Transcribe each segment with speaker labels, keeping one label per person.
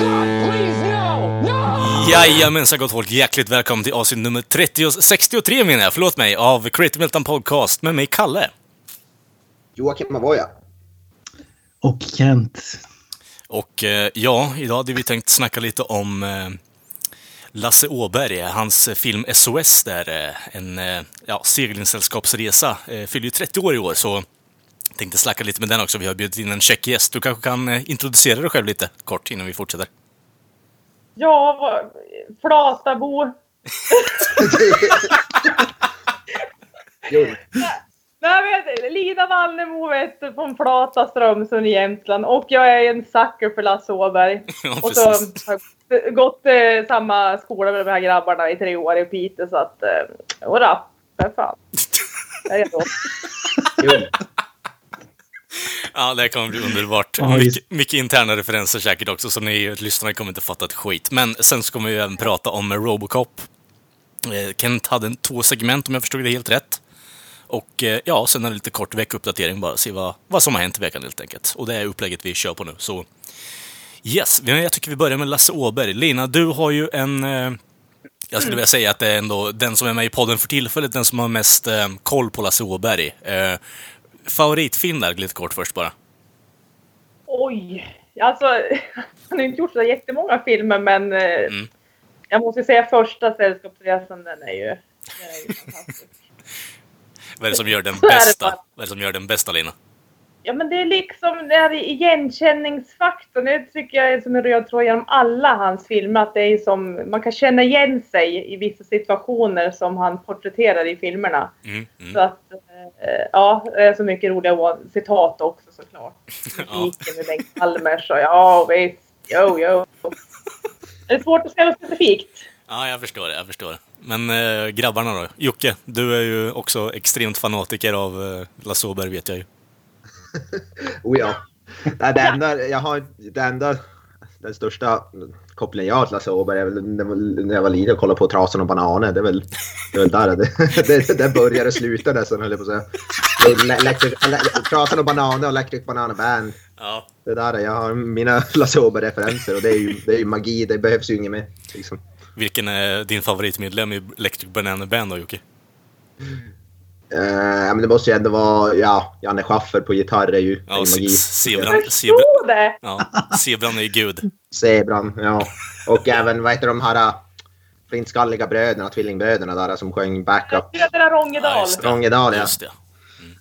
Speaker 1: God, please, no! No!
Speaker 2: Jajamensan gott folk, hjärtligt välkommen till avsnitt nummer 30, 63 menar jag, förlåt mig, av Creative Meltdown Podcast med mig Kalle.
Speaker 3: Joakim Avoya.
Speaker 4: Och Kent.
Speaker 2: Och eh, ja, idag hade vi tänkt snacka lite om eh, Lasse Åberg, hans eh, film SOS där, eh, en eh, ja, seglingssällskapsresa, eh, fyller ju 30 år i år så tänkte snacka lite med den också. Vi har bjudit in en käck gäst. Du kanske kan eh, introducera dig själv lite kort innan vi fortsätter.
Speaker 5: Ja, vad- Flatabo.
Speaker 3: jo,
Speaker 5: Nej, men Lina Vallemo vet du, från Flata, Strömsund i Jämtland och jag är en sucker för Lasse Åberg.
Speaker 2: Ja,
Speaker 5: och så har jag gått eh, samma skola med de här grabbarna i tre år i Piteå så att, eh, jodå, för fan. Jag är redo.
Speaker 3: jo.
Speaker 2: Ja, det här kommer bli underbart.
Speaker 4: Ja, just-
Speaker 2: Mycket, mycket interna referenser säkert också, så ni lyssnare kommer inte fatta ett skit. Men sen så kommer vi även prata om Robocop. Eh, Kent hade en, två segment, om jag förstod det helt rätt. Och eh, ja, sen en lite kort veckouppdatering bara, se vad, vad som har hänt i veckan helt enkelt. Och det är upplägget vi kör på nu, så... Yes, men jag tycker vi börjar med Lasse Åberg. Lina, du har ju en... Eh, jag skulle vilja säga att det är ändå den som är med i podden för tillfället, den som har mest eh, koll på Lasse Åberg. Eh, favoritfilm där, lite kort först bara.
Speaker 5: Oj! Alltså, han har ju inte gjort så jättemånga filmer men eh,
Speaker 2: Mm.
Speaker 5: jag måste säga första Sällskapsresan, den är ju, den är ju fantastisk.
Speaker 2: Vad är det som gör den
Speaker 5: Så är det
Speaker 2: bästa?
Speaker 5: bara.
Speaker 2: Vad är det som gör den bästa, Lina?
Speaker 5: Ja men det är liksom den här igenkänningsfaktorn. Det tycker jag är som en röd tråd genom alla hans filmer. Att det är som, man kan känna igen sig i vissa situationer som han porträtterar i filmerna.
Speaker 2: Mm,
Speaker 5: Så
Speaker 2: mm.
Speaker 5: att, eh, ja, det är så mycket roliga å- citat också såklart. Musiken med Bengt Palmers och ja visst, jo jo. Det är svårt att säga något specifikt.
Speaker 2: Ja, jag förstår det. Jag förstår det. Men eh, grabbarna då? Jocke, du är ju också extremt fanatiker av eh, Lasse Åberg, vet jag ju.
Speaker 3: Oh, ja. Nej, det, enda, jag har, det enda, den största kopplingen jag har till Lasse Åberg är väl när- när jag var liten och kollade på Trasan och Bananer. Det är väl, det är väl där det, det, det börjar och slutar nästan höll jag på att säga. Det är Le- Electric- Le- Trasan och Bananer och Electric Banana Band.
Speaker 2: Ja.
Speaker 3: Det där är, jag har mina Lasse Åberg-referenser och det är, ju, det är ju magi, det behövs ju inget mer. Liksom.
Speaker 2: Vilken är din favoritmedlem i Electric Banana Band då, Jocke?
Speaker 3: Eh, men det måste ju ändå vara, ja, Janne Schaffer på gitarr är ju är
Speaker 2: Ja,
Speaker 3: ju
Speaker 2: se-
Speaker 3: magi.
Speaker 2: Zebran. Zebra,
Speaker 5: Förstå det!
Speaker 2: ja, zebran är ju gud.
Speaker 3: Zebran, ja. Och även vad heter de här äh, flintskalliga bröderna, tvillingbröderna där äh, som sjöng backup.
Speaker 5: Bröderna
Speaker 2: Ja,
Speaker 5: Rongedal.
Speaker 2: just det.
Speaker 3: Rongedal ja.
Speaker 2: Just det.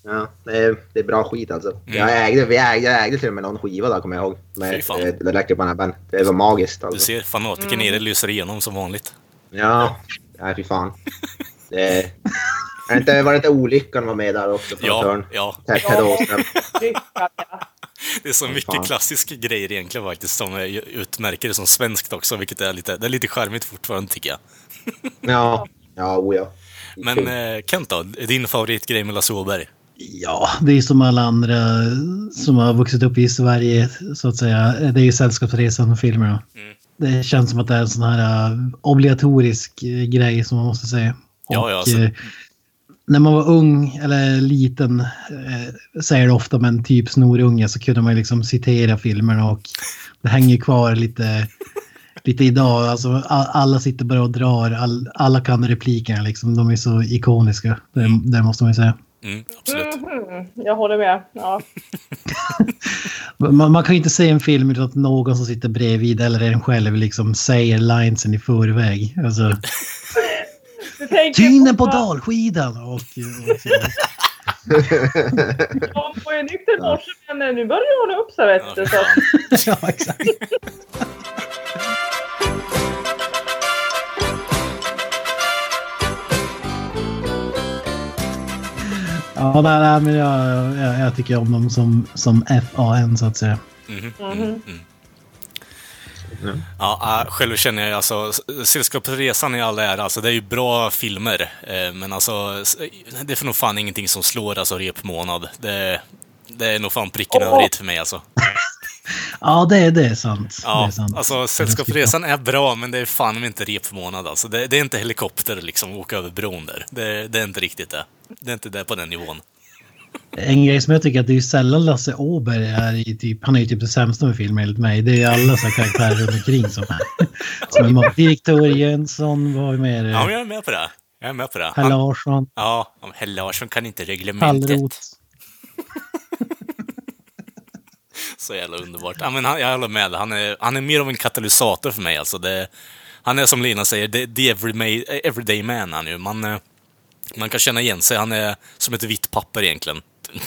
Speaker 3: ja det, är, det är bra skit alltså. Jag, ägde, vi ägde, jag ägde till och med någon skiva där kommer jag ihåg. Med
Speaker 2: Mm. Fy fan.
Speaker 3: eh, The Electric Banana Band. Det var magiskt
Speaker 2: Du
Speaker 3: alltså.
Speaker 2: ser, fanatiken i dig
Speaker 5: Mm.
Speaker 2: lyser igenom som vanligt.
Speaker 3: Ja, nej fy fan. Det, är det inte, var det inte Olyckan var med där också? Från
Speaker 2: Ja,
Speaker 3: Törn?
Speaker 2: ja.
Speaker 3: Per, per Åström.
Speaker 5: Lyckan, ja.
Speaker 2: Det är så mycket
Speaker 3: fan.
Speaker 2: klassiska grejer egentligen faktiskt som eh, utmärker det som svenskt också, vilket är lite, det är lite charmigt fortfarande tycker jag.
Speaker 3: Ja, ja, oh, ja.
Speaker 2: Men eh, Kent då, din favoritgrej med Lasse Åberg?
Speaker 4: Ja, det är ju som alla andra som har vuxit upp i Sverige så att säga. Det är ju Sällskapsresan och filmerna.
Speaker 2: Mm.
Speaker 4: Det känns som att det är en sån här eh, obligatorisk eh, grej som man måste se.
Speaker 2: Ja,
Speaker 4: Och,
Speaker 2: ja, alltså.
Speaker 4: eh, När man var ung eller liten, eh, säger det ofta, men typ snorunge så kunde man ju liksom citera filmerna och det hänger kvar lite, lite idag. Alltså, a- alla sitter bara och drar, all, alla kan replikerna liksom. De är så ikoniska, det, det måste man ju säga.
Speaker 2: Mm, absolut.
Speaker 5: Mhm, jag håller med. Ja.
Speaker 4: Man, man kan ju inte se en film utan att någon som sitter bredvid eller en själv liksom säger linesen i förväg. Alltså,
Speaker 5: Du tänker
Speaker 4: tyngden på dalskidan och... och så.
Speaker 5: De var ju nykter i morse men eh, nu börjar hon upp sig vet du.
Speaker 2: Ja, fan.
Speaker 5: Så.
Speaker 4: ja, exakt. Ja, nej, nej, men jag, jag, jag tycker om dem som, som FAN så att säga.
Speaker 2: Mhm, mhm, mhm. Ja, äh, själv känner jag ju alltså, Sällskapsresan i all ära, alltså det är ju bra filmer. eh, Men alltså, s- det är för nog fan ingenting som slår alltså repmånad. Det, det är nog fan pricken över dit för mig alltså.
Speaker 4: Ja, det, det är sant. det
Speaker 2: Ja,
Speaker 4: är sant.
Speaker 2: alltså Sällskapsresan är bra, men det är fan inte repmånad alltså. Det, det är inte helikopter liksom, att åka över bron där. Det, det är inte riktigt det. Det är inte det på den nivån.
Speaker 4: En grej som jag tycker att det är ju sällan Lasse Åberg är i typ, han är ju typ det sämsta med filmer enligt mig. Det är ju alla så här karaktärer runt omkring som är, som är mat. Direktör Jönsson, vad är med
Speaker 2: Ja, men
Speaker 4: det?
Speaker 2: jag är med på det. Jag är med på det.
Speaker 4: Per
Speaker 2: Han,
Speaker 4: Larsson,
Speaker 2: ja, om Herr Larsson kan inte reglementet.
Speaker 4: Pallroth.
Speaker 2: Så jävla underbart. Ja, men han, jag håller med. Han är, han är mer av en katalysator för mig. Alltså det, han är som Lina säger, the, the everyday, everyday man han ju. Man, eh, man kan känna igen sig. Han är som ett vitt papper egentligen.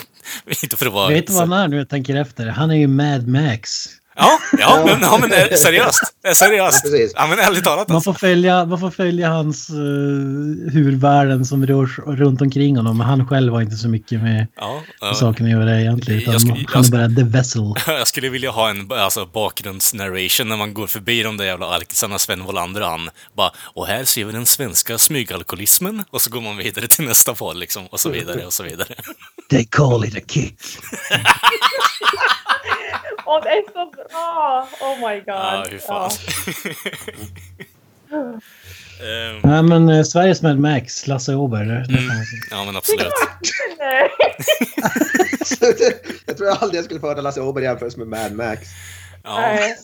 Speaker 2: Inte för att vara...
Speaker 4: Vet du vad han är nu jag tänker efter? Han är ju Mad Max.
Speaker 2: Ja, ja, men, ja, men eh, seriöst. Eh, Seriöst.
Speaker 3: Ja, precis.
Speaker 2: Ja, men ärligt talat
Speaker 4: Man
Speaker 2: alltså.
Speaker 4: får följa, man får följa hans eh, hur världen som rör sig runt omkring honom. Men han själv har inte så mycket med
Speaker 2: Ja,
Speaker 4: ja.
Speaker 2: ja.
Speaker 4: saken att göra egentligen. Utan
Speaker 2: Jag skulle-
Speaker 4: han
Speaker 2: jag
Speaker 4: är bara the vessel.
Speaker 2: Jag skulle vilja ha en alltså, bakgrundsnarration när man går förbi de där jävla alkisarna, Sven Wolander och han. Bara, och här ser vi den svenska smygalkoholismen. Och så går man vidare till nästa val liksom, och så
Speaker 4: Mm.
Speaker 2: vidare och så vidare.
Speaker 4: They call it a kick.
Speaker 5: Åh, det är så bra! Oh my god.
Speaker 2: Ja, hur fan. Ehm,
Speaker 4: Nej men eh, Sveriges Mad Max, Lasse Åberg.
Speaker 2: Mm.
Speaker 4: det- det kan man säga.
Speaker 2: ja, men absolut.
Speaker 5: Nej.
Speaker 3: jag tror aldrig jag skulle föra Lasse Åberg jämförs med Mad Max.
Speaker 2: Ja,
Speaker 5: Nej.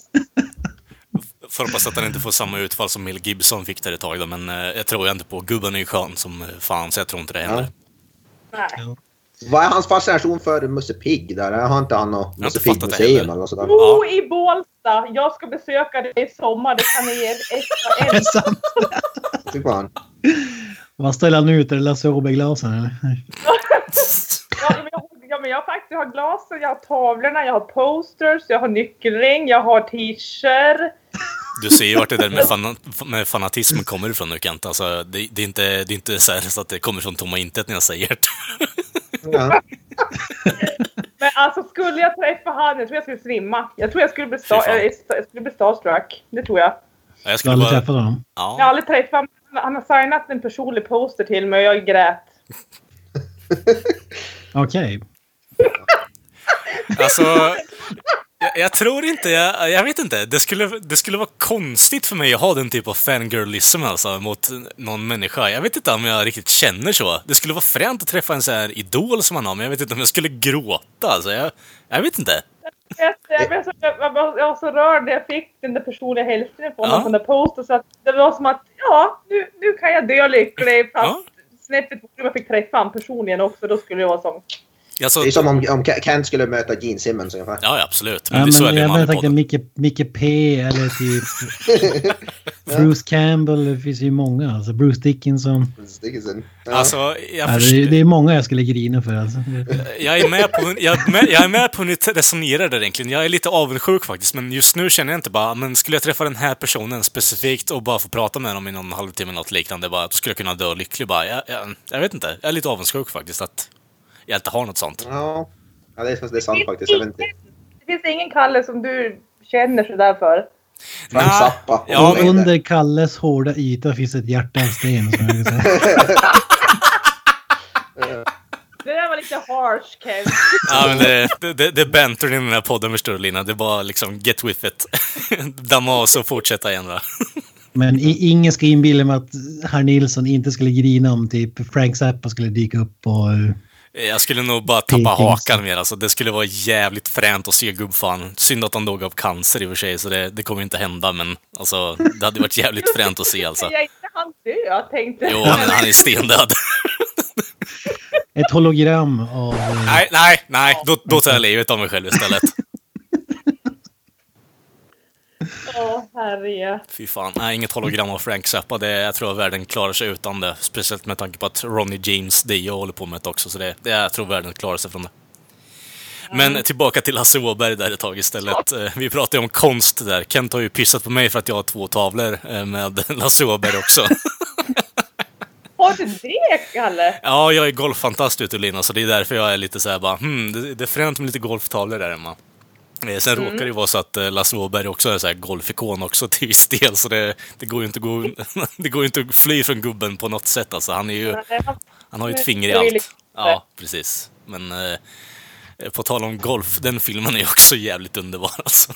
Speaker 2: får hoppas att han inte får samma utfall som Mel Gibson fick där ett tag då, men eh, jag tror ju inte på gubben är ju skön som eh, fan, så jag tror inte det händer.
Speaker 5: Nej.
Speaker 3: Vad är hans fascination för Musse Pigg? Där? Har inte han något
Speaker 2: har inte
Speaker 3: Musse
Speaker 2: fattat det
Speaker 3: Pigg-museum
Speaker 2: heller.
Speaker 3: eller något sådant?
Speaker 5: Bo i Bålsta. Jag ska besöka dig i sommar. Det kan ni ge extra
Speaker 4: Det är
Speaker 5: en.
Speaker 4: sant.
Speaker 3: Fy fan.
Speaker 4: Vad ställer han ut? Är det Lasse Åberg-glasen eller? Nej.
Speaker 5: Ja, men jag, ja, men jag faktiskt jag har glasen, jag har tavlorna, jag har posters, jag har nyckelring, jag har t-shirt.
Speaker 2: Du ser ju vart det där med, fan, med fanatismen kommer ifrån nu Kent. Alltså, det, det, är inte, det är inte så, här, så att det kommer från tomma intet när jag säger det.
Speaker 3: Ja.
Speaker 5: Men alltså skulle jag träffa han, jag tror jag skulle svimma. Jag tror jag skulle bli, sta-
Speaker 2: Fy fan.
Speaker 5: eh, sta- jag skulle bli starstruck. Det tror jag.
Speaker 2: Ja, Jag
Speaker 4: Jag har
Speaker 2: skulle
Speaker 4: aldrig
Speaker 2: bara...
Speaker 4: träffat honom.
Speaker 5: Jag har
Speaker 2: Ja,
Speaker 5: aldrig träffat honom. Han har signat en personlig poster till mig och jag grät.
Speaker 4: Okej.
Speaker 2: alltså... Jag, jag tror inte, jag, jag vet inte. Det skulle, det skulle vara konstigt för mig att ha den typ av fangirlism alltså, mot någon människa. Jag vet inte om jag riktigt känner så. Det skulle vara fränt att träffa en så här idol som man har, men jag vet inte om jag skulle gråta. Alltså, jag, jag vet inte.
Speaker 5: Jag, jag, blev så, jag, jag, var- jag var så rörd när jag fick den där personliga hälsningen
Speaker 2: Ja.
Speaker 5: från honom, den där posten. Så att det var som att ja, nu, nu kan jag dö lycklig. Fast
Speaker 2: Ja.
Speaker 5: snäppet vore om jag fick träffa honom personligen också. Då skulle jag vara som
Speaker 2: Alltså,
Speaker 3: Det är som om, om Kent skulle möta Gene Simmons ungefär.
Speaker 2: Ja, ja, absolut. Men
Speaker 4: Ja,
Speaker 2: det, så är
Speaker 4: men
Speaker 2: det ju
Speaker 4: jag
Speaker 2: med
Speaker 4: tänkte
Speaker 2: podden.
Speaker 4: Micke, Micke P eller typ Bruce Campbell. Det finns ju många. Alltså Bruce Dickinson.
Speaker 3: Stickelsen. Ja.
Speaker 2: Alltså, jag
Speaker 4: Ja,
Speaker 2: förstår-
Speaker 4: det, det är många jag skulle grina för. Alltså.
Speaker 2: Jag är med på, jag är med, jag är med på hur ni t- resonerar där egentligen. Jag är lite avundsjuk faktiskt, men just nu känner jag inte bara, men skulle jag träffa den här personen specifikt och bara få prata med dem i någon halvtimme eller något liknande, bara, då skulle jag kunna dö lycklig bara. Jag, jag, jag vet inte, jag är lite avundsjuk faktiskt att jag inte har något sånt.
Speaker 3: Ja. ja, det är, det är sant
Speaker 5: Det
Speaker 3: faktiskt. Jag vet
Speaker 5: finns,
Speaker 3: inte.
Speaker 5: ingen, det finns ingen Kalle som du känner sådär för.
Speaker 3: Frank
Speaker 2: Nja,
Speaker 3: Zappa.
Speaker 2: Ja, men,
Speaker 4: Under Kalles hårda yta finns ett hjärta av sten. Som jag brukar säga.
Speaker 5: Det där var lite harsh Kev.
Speaker 2: ja, men det, det, det, det är bantern i den här podden förstår du Lina. Det är bara liksom get with it. Damma av sig och fortsätta igen va.
Speaker 4: Men i, ingen ska inbilla mig att herr Nilsson inte skulle grina om typ Frank Zappa skulle dyka upp och... eh,
Speaker 2: Jag skulle nog bara tappa
Speaker 4: Peking.
Speaker 2: hakan mer alltså. Det skulle vara jävligt fränt att se gubbfan. Synd att han dog av cancer i och för sig, så det, det kommer ju inte hända, men alltså, det hade varit jävligt fränt att se alltså.
Speaker 5: Jag är inte han dö tänkte
Speaker 2: Jo, men han är stendöd.
Speaker 4: Ett hologram av... eh,
Speaker 2: Nej, nej, nej, då, då tar jag livet av mig själv istället.
Speaker 5: Åh herre.
Speaker 2: Fy fan, nej, inget hologram av Frank Zappa. Det, jag tror att världen klarar sig utan det. Speciellt med tanke på att Ronnie James Dio håller på med det också, så det, det, jag tror världen klarar sig från det. Men tillbaka till Lasse Åberg där ett tag istället. Eh, Vi pratade ju om konst där. Kent har ju pissat på mig för att jag har två tavlor eh, med Lasse Åberg också.
Speaker 5: Har du det Kalle?
Speaker 2: Ja, jag är golffantast ute Lina, så det är därför jag är lite så här bara hmm, det, det är fränt med lite golftavlor där hemma. Eh, Sen råkar det ju vara så att eh, Lasse Åberg också är så här golfikon också till viss del, så det, det går ju inte att, gå, det går ju inte att fly från gubben på något sätt. Alltså, han, är ju, han har ju ett finger i allt. Ja, precis. Men eh, på tal om golf, den filmen är ju också jävligt underbar alltså.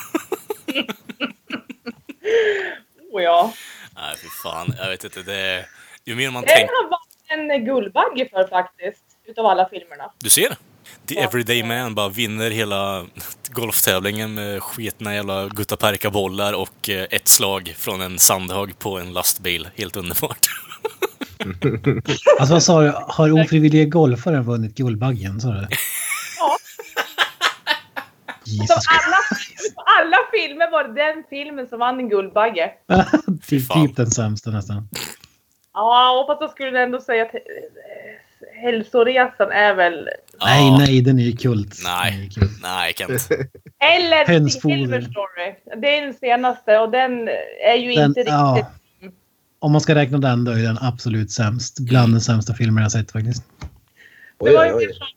Speaker 5: Oh, ja.
Speaker 2: Nej, fy fan. Jag vet inte. Det, ju mer man
Speaker 5: Den
Speaker 2: tänker...
Speaker 5: har vann en Guldbagge för faktiskt. Utav alla filmerna.
Speaker 2: Du ser! The
Speaker 5: Ja.
Speaker 2: Everyday Man bara vinner hela golftävlingen med sketna jävla guttaperka-bollar och eh, ett slag från en sandhög på en lastbil. Helt underbart.
Speaker 4: Alltså vad sa du? Har ofrivilliga golfare vunnit Guldbaggen? Sa du?
Speaker 5: Ja.
Speaker 4: Jesus
Speaker 5: Som alla, som alla filmer var det den filmen som vann en Guldbagge.
Speaker 4: Christ. typ,
Speaker 2: fan.
Speaker 4: typ den sämsta nästan.
Speaker 5: Ja, fast då skulle jag ändå säga att eh, Hälsoresan är väl...
Speaker 4: Nej, nej, den är ju kult. Den är ju
Speaker 2: Nej,
Speaker 4: kult.
Speaker 2: nej Kent.
Speaker 5: Eller
Speaker 4: Hönsfoder.
Speaker 5: Silver Story. Det är den senaste och den är ju
Speaker 4: Den-
Speaker 5: inte
Speaker 4: ja.
Speaker 5: riktigt...
Speaker 4: Om man ska räkna den då är den absolut sämst. Bland de sämsta filmer jag sett faktiskt.
Speaker 5: Det
Speaker 3: Oj,
Speaker 5: var
Speaker 3: oj,
Speaker 5: ju
Speaker 3: oj.
Speaker 5: liksom...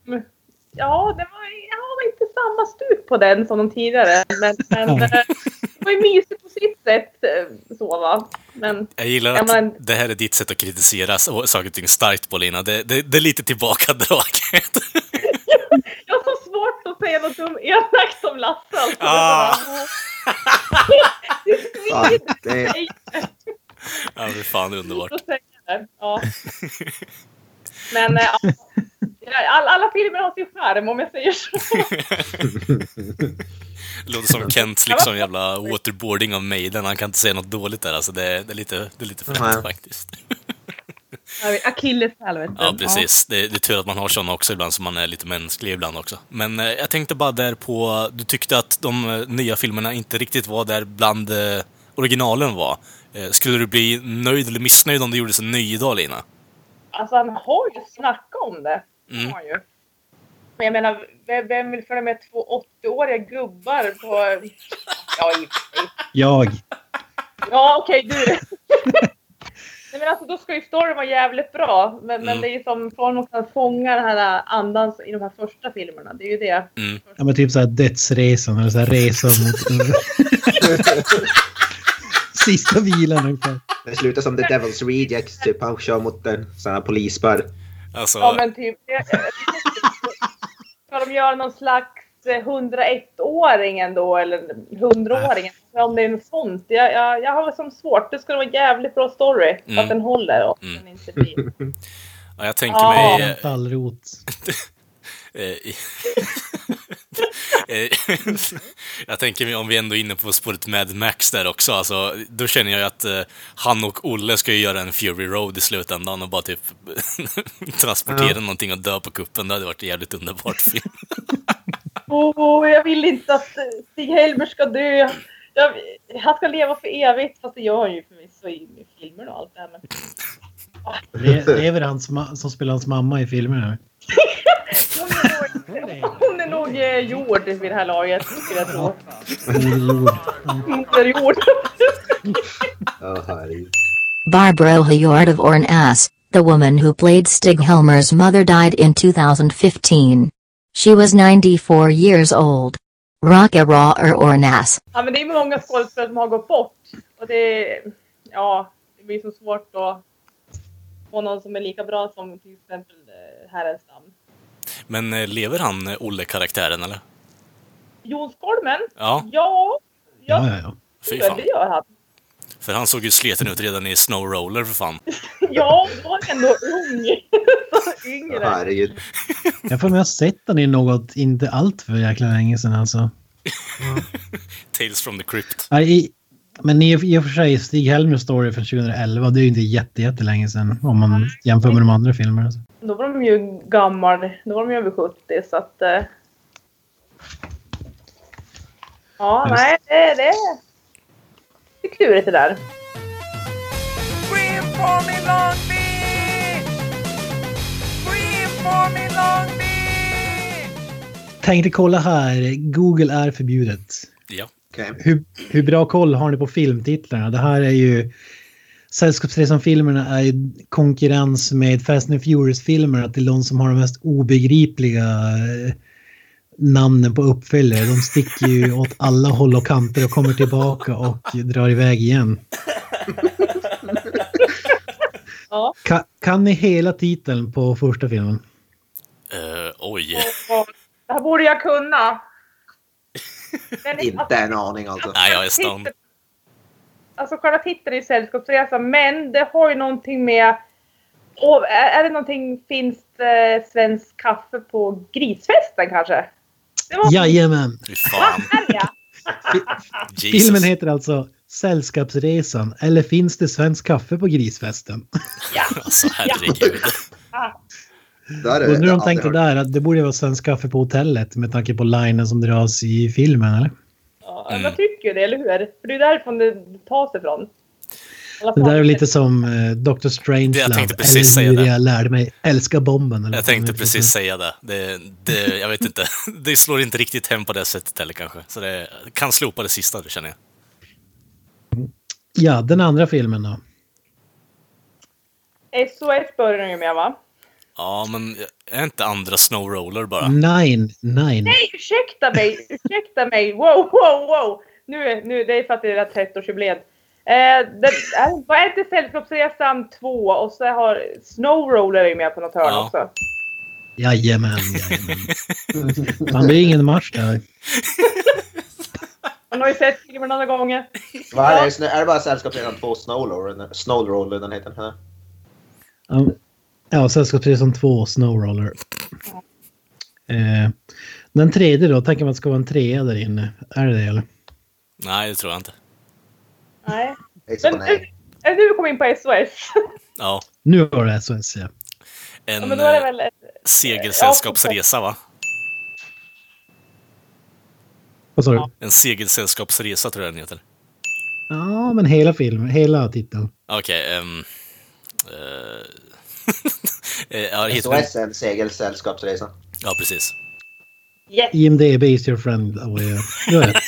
Speaker 5: Ja, det var, ja, det var inte samma stuk på den som de tidigare. Men, men eh, det var ju mysigt på sitt sätt. eh, Så va. Men
Speaker 2: Jag gillar
Speaker 5: Ja,
Speaker 2: att
Speaker 5: men-
Speaker 2: det här är ditt sätt att kritisera så- saker och ting starkt, Paulina. Det, det, det är lite tillbakadraget.
Speaker 5: jag har så svårt att säga något dum elakt om Lasse. Alltså.
Speaker 2: Ah.
Speaker 5: Det svider
Speaker 3: Fan, det,
Speaker 5: mig
Speaker 2: Ja, fy fan, det är underbart.
Speaker 5: att säga det. Ja. Men eh, ja, all, alla filmer har sin charm om jag säger så.
Speaker 2: Det låter som Kents liksom jävla waterboarding av Maiden. Han kan inte säga något dåligt där. Alltså, det, det är lite, det är lite
Speaker 3: Nej.
Speaker 2: fränt faktiskt.
Speaker 5: Akilleshäl vet du.
Speaker 2: Ja, precis. Det, det är tur att man har sådana också ibland, så man är lite mänsklig ibland också. Men eh, jag tänkte bara där på, du tyckte att de eh, nya filmerna inte riktigt var där bland eh, originalen var. Eh, skulle du bli nöjd eller missnöjd om det gjordes en ny idag, Lina?
Speaker 5: Alltså han har ju snackat om det.
Speaker 2: Mm.
Speaker 5: Han har ju. Men jag menar, vem, vem vill följa med två 80-åriga gubbar på... Ja, i och för sig.
Speaker 4: Jag.
Speaker 5: ja okej du. Nej men alltså då ska ju storyn vara jävligt bra. Men,
Speaker 2: Mm.
Speaker 5: men det är ju som från och att fånga den här andan i de här första filmerna. Det är ju det.
Speaker 4: Ja, men typ såhär dödsresan eller såhär resan mot... Sista vilan ungefär.
Speaker 3: det slutar som The Devil's Rejects, typ. Han kör mot en sån här polisspärr.
Speaker 2: Alltså,
Speaker 5: Ja men typ. det- Ska de göra någon slags eh, 101-åringen då eller 100-åringen?
Speaker 2: Äh.
Speaker 5: Om det är något sånt. Jag, jag, jag har väl som svårt. Det ska vara en jävligt bra story.
Speaker 2: Mm.
Speaker 5: Att den håller och
Speaker 2: Mm.
Speaker 5: den inte blir.
Speaker 2: ja, jag tänker
Speaker 5: Ja.
Speaker 2: mig... eh,
Speaker 4: En Tallrot.
Speaker 2: Eh, i- Eh, jag tänker mig, om vi ändå är inne på spåret Mad Max där också, alltså, då känner jag ju att eh, han och Olle ska ju göra en Fury Road i slutändan och bara typ transportera
Speaker 3: Ja.
Speaker 2: någonting och dö på kuppen. Det hade varit en jävligt underbart film.
Speaker 5: Åh, jag vill inte att eh, Stig-Helmer ska dö. Jag, han ska leva för evigt. Fast det gör han ju förvisso i i filmer och allt det här. Men...
Speaker 4: Le- Lever han som, som spelar hans mamma i filmerna?
Speaker 5: Hon är nog, hon är nog eh, jord vid det här laget. Skulle jag tro.
Speaker 4: Moder Jord.
Speaker 5: Moder jord.
Speaker 3: Ja, herregud.
Speaker 6: Barbara Hjort of Orn Ass, the woman who played Stig Helmer's mother died in 2015. She was 94 years old. Rocka Ra or Orn Ass.
Speaker 5: Ja, men det är många skådespelare som har gått bort. Och det, ja, det blir så svårt att få någon som är lika bra som till exempel eh, Härenstam.
Speaker 2: Men eh, lever han, eh, Olle-karaktären, eller?
Speaker 5: Jonsholmen?
Speaker 2: Ja,
Speaker 5: Ja,
Speaker 4: Ja,
Speaker 5: jag
Speaker 4: ja, ja.
Speaker 2: fy
Speaker 5: tror
Speaker 2: fan.
Speaker 5: det gör han.
Speaker 2: För han såg ju sleten ut redan i Snow Roller, för fan.
Speaker 5: Ja, då var han ändå ung. Så
Speaker 3: Ja,
Speaker 5: yngre.
Speaker 3: herregud.
Speaker 4: Jag får mig att jag har sett den i något, inte allt för jäkla länge sedan alltså.
Speaker 2: Tales from the Crypt.
Speaker 4: Nej, i- Men i i och för sig, Stig Helmers story från 2011, det är ju inte jätte, jättelänge sedan om man jämför med de andra filmerna. Alltså.
Speaker 5: Då var de ju gammal. Då var de ju över 70 så att... eh. Ja,
Speaker 4: Just-
Speaker 5: nej, det, det, det är klurigt det där.
Speaker 7: Scream for me, Long Beach! Scream for me, Long Beach!
Speaker 4: Tänkte kolla här, Google är förbjudet.
Speaker 2: Ja.
Speaker 3: Okej.
Speaker 4: Hur, hur bra koll har ni på filmtitlarna? Det här är ju... Sällskapsresan-filmerna är ju konkurrens med Fast and Furious-filmerna till de som har de mest obegripliga eh, namnen på uppföljare. De sticker ju åt alla håll och kanter och kommer tillbaka och drar iväg igen.
Speaker 5: Ja.
Speaker 4: Ka, kan ni hela titeln på första filmen?
Speaker 2: Eh, oj.
Speaker 5: Och, och, det här borde jag kunna. Men,
Speaker 3: Inte en aning alltså.
Speaker 2: Nej, jag är stånd.
Speaker 5: alltså själva titeln i Sällskapsresan, men det har ju någonting med... Åh, är är det någonting finskt eh, svenskt kaffe på grisfesten kanske? Det var
Speaker 4: Jajamän!
Speaker 2: Fy fan.
Speaker 5: ja.
Speaker 2: Jesus.
Speaker 4: Filmen heter alltså Sällskapsresan eller finns det svensk kaffe på grisfesten?
Speaker 2: Alltså herregud.
Speaker 3: Där
Speaker 4: Undrar om
Speaker 3: aldrig
Speaker 4: de tänkte
Speaker 3: hört.
Speaker 4: där att det borde vara svensk kaffe på hotellet med tanke på linen som dras i filmen eller?
Speaker 5: Ja,
Speaker 2: Mm.
Speaker 5: Jag tycker det, eller hur? För det är därifrån det tas ifrån. Alla
Speaker 4: Det där är
Speaker 5: fall.
Speaker 4: lite som eh, Dr. Strange
Speaker 2: Det jag tänkte precis
Speaker 4: eller
Speaker 2: säga
Speaker 4: hur
Speaker 2: det.
Speaker 4: jag lärde mig älska bomben. Eller
Speaker 2: Jag
Speaker 4: vad fan
Speaker 2: tänkte
Speaker 4: det
Speaker 2: precis säga det. det, det jag vet inte. Det slår inte riktigt hem på det sättet heller kanske. Så det kan slopa det sista, det känner jag.
Speaker 4: heter. Ja, den andra filmen då.
Speaker 5: SOS börjar den ju med va?
Speaker 2: Ja, men är inte andra Snowroller
Speaker 4: Mm.
Speaker 2: bara?
Speaker 4: Nine, nine.
Speaker 5: Nej, ursäkta mig! Ursäkta mig! Wow, wow, wow! Nu, nu, det är för att det är deras 30-årsjubileet. Eh, det är- vad är det Sällskapsresan 2 och så har Snowroller är ju med på något hörn
Speaker 2: Ja.
Speaker 5: också.
Speaker 4: Jajamän, jajamän. Man blir ingen match där.
Speaker 5: Man har ju sett filmen några gånger.
Speaker 3: Vad är det? Snö- Är det bara Sällskapsresan 2 Snowroller? Snowroller den heter. Ja.
Speaker 4: Ja, Ja, Sällskapsresan 2, Snowroller. Eh, den tredje då, tänker man ska vara en trea där inne. Är det det eller?
Speaker 2: Nej, det tror jag inte.
Speaker 5: Nej.
Speaker 3: Liksom
Speaker 5: Men nu,
Speaker 3: Exponering.
Speaker 5: eh, nu kom vi in på SOS.
Speaker 2: Ja,
Speaker 4: Nu var det SOS ja.
Speaker 5: Ja,
Speaker 2: en
Speaker 5: Men då är det
Speaker 2: eh,
Speaker 5: väl...
Speaker 2: segelsällskapsresa va?
Speaker 4: Vad sa du?
Speaker 5: Ja.
Speaker 2: En segelsällskapsresa tror jag den heter.
Speaker 4: Ja, men hela filmen, hela titeln.
Speaker 2: Okej, ehm... eh, eh, ja, det heter
Speaker 3: SOS är en segelsällskapsresa.
Speaker 2: Ja, precis.
Speaker 5: Yes.
Speaker 4: IMDB is your friend. Oh, ja. Du har rätt.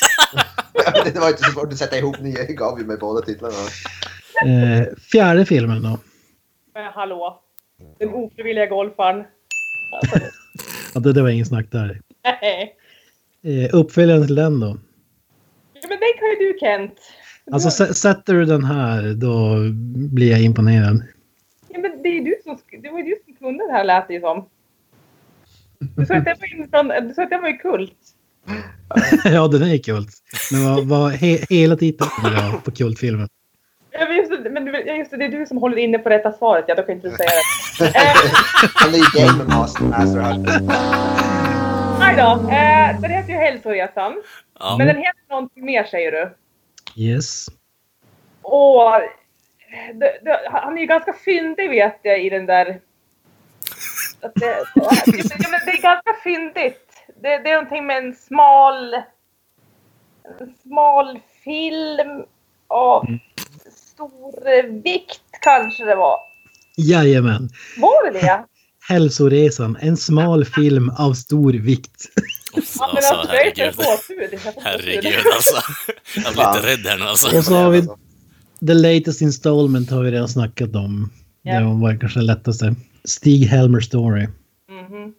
Speaker 3: det var inte så svårt att sätta ihop. Ni gav ju mig båda titlarna.
Speaker 4: Eh, fjärde filmen då.
Speaker 5: Men hallå. Den ofrivilliga golfaren.
Speaker 4: Ja, det, det var ingen snack där.
Speaker 5: Nej.
Speaker 4: Eh, uppföljaren till den då.
Speaker 5: Ja, men den kan ju du Kent.
Speaker 4: Alltså sä- sätter du den här då blir jag imponerad.
Speaker 5: Ja, men det, är ju du som, sk- det var ju du som kunde det här lät det ju som. Du sa att den var, inifrån, du sa att den var ju kult.
Speaker 4: ja, den är kult. Men vad, vad, he, hela titeln ja, på kultfilmen.
Speaker 5: Ja, men just, det, men du- ja, just det, det är du som håller inne på rätta svaret. Ja, då kan inte du säga det. Eh,
Speaker 3: Han är ju game master. master här.
Speaker 5: nej då. Eh, den heter ju Hälsoresan.
Speaker 2: Ja.
Speaker 5: Men den heter någonting mer säger du.
Speaker 4: Yes.
Speaker 5: Och, det, det, han är ju ganska fyndig vet jag i den där... Att det, ja, men det är ganska fyndigt. Det, det är någonting med en smal... En smal film av stor eh, vikt kanske det var.
Speaker 4: Jajamän.
Speaker 5: Var det det?
Speaker 4: Hälsoresan, en smal film av stor vikt.
Speaker 5: Ja, men
Speaker 2: Alltså,
Speaker 5: alltså, jag är
Speaker 2: herregud.
Speaker 5: så gåshud. Jag får gåshud.
Speaker 2: Herregud alltså. Jag blir lite rädd här nu alltså.
Speaker 4: Och så har vi The Latest Installment har vi redan snackat om.
Speaker 5: Ja.
Speaker 4: Det var kanske den lättaste. Stig Helmer Story.
Speaker 5: Mhm.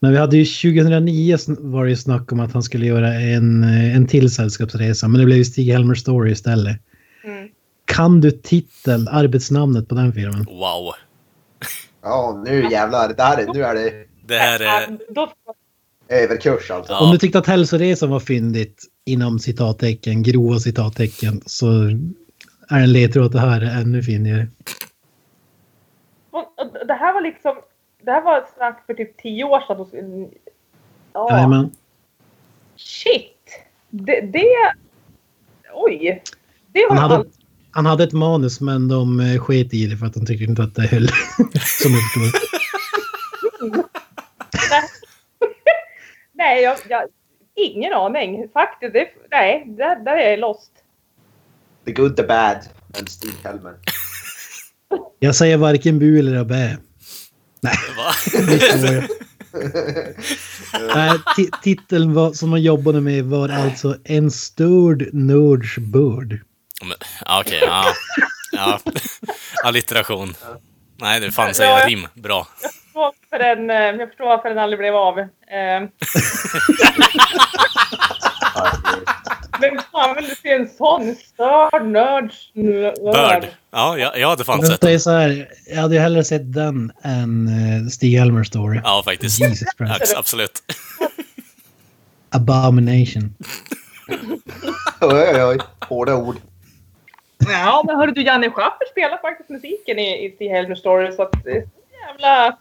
Speaker 4: Men vi hade ju 2009 sn- var det ju snack om att han skulle göra en, eh, en till sällskapsresa. Men det blev ju Stig Helmer Story istället.
Speaker 5: Mm.
Speaker 4: Kan du titeln, arbetsnamnet på den filmen?
Speaker 2: Wow.
Speaker 3: Ja, nu jävlar. Det här är, nu är det
Speaker 2: Det här är...
Speaker 5: Ja, Då ska
Speaker 3: överkurs alltså.
Speaker 4: Om du
Speaker 2: Ja,
Speaker 4: tyckte att hälsoresan var fyndigt inom citattecken, grova citattecken, så är en ledtråd att det här är ännu fyndigare.
Speaker 5: Och- och Det här var liksom, det här var ett snack för typ tio år sedan. Ja,
Speaker 4: Jajamän.
Speaker 5: shit! Det, det... Oj! Det har
Speaker 4: Han
Speaker 5: jag
Speaker 4: hade,
Speaker 5: aldrig...
Speaker 4: han hade ett manus men de eh, sket i det för att de tyckte inte att det höll. Som jag förstår.
Speaker 5: Nej, jag, jag... Ingen aning. Faktiskt, det, nej, där, där är jag lost.
Speaker 3: The good, the bad and Stig Helmer.
Speaker 4: Jag säger varken bu eller bä.
Speaker 2: va?
Speaker 4: Eh, Nej, ti- titeln var, som man jobbade med var alltså En störd nörds börd.
Speaker 2: Men- ja, Okej, ja. ja. Allitteration. Nej, det fan säger rim. Bra.
Speaker 5: Så för det den, eh, jag förstår varför den aldrig blev av. Eh, Men fan vill du se en sån störd nörd? snörd?
Speaker 2: Bird. Ja, jag, jag hade fan sett
Speaker 4: Vänta,
Speaker 2: den.
Speaker 4: är så här, jag hade ju hellre sett den än eh, Stig-Helmer story.
Speaker 2: Ja, faktiskt.
Speaker 4: Jesus Christ.
Speaker 2: Abs- Absolut.
Speaker 4: Abomination.
Speaker 3: Oj, oj, oj. Hårda ord.
Speaker 5: Ja, men hörru du, Janne Schaffer spelar faktiskt musiken i, i Stig Helmer Story så att det är så jävla...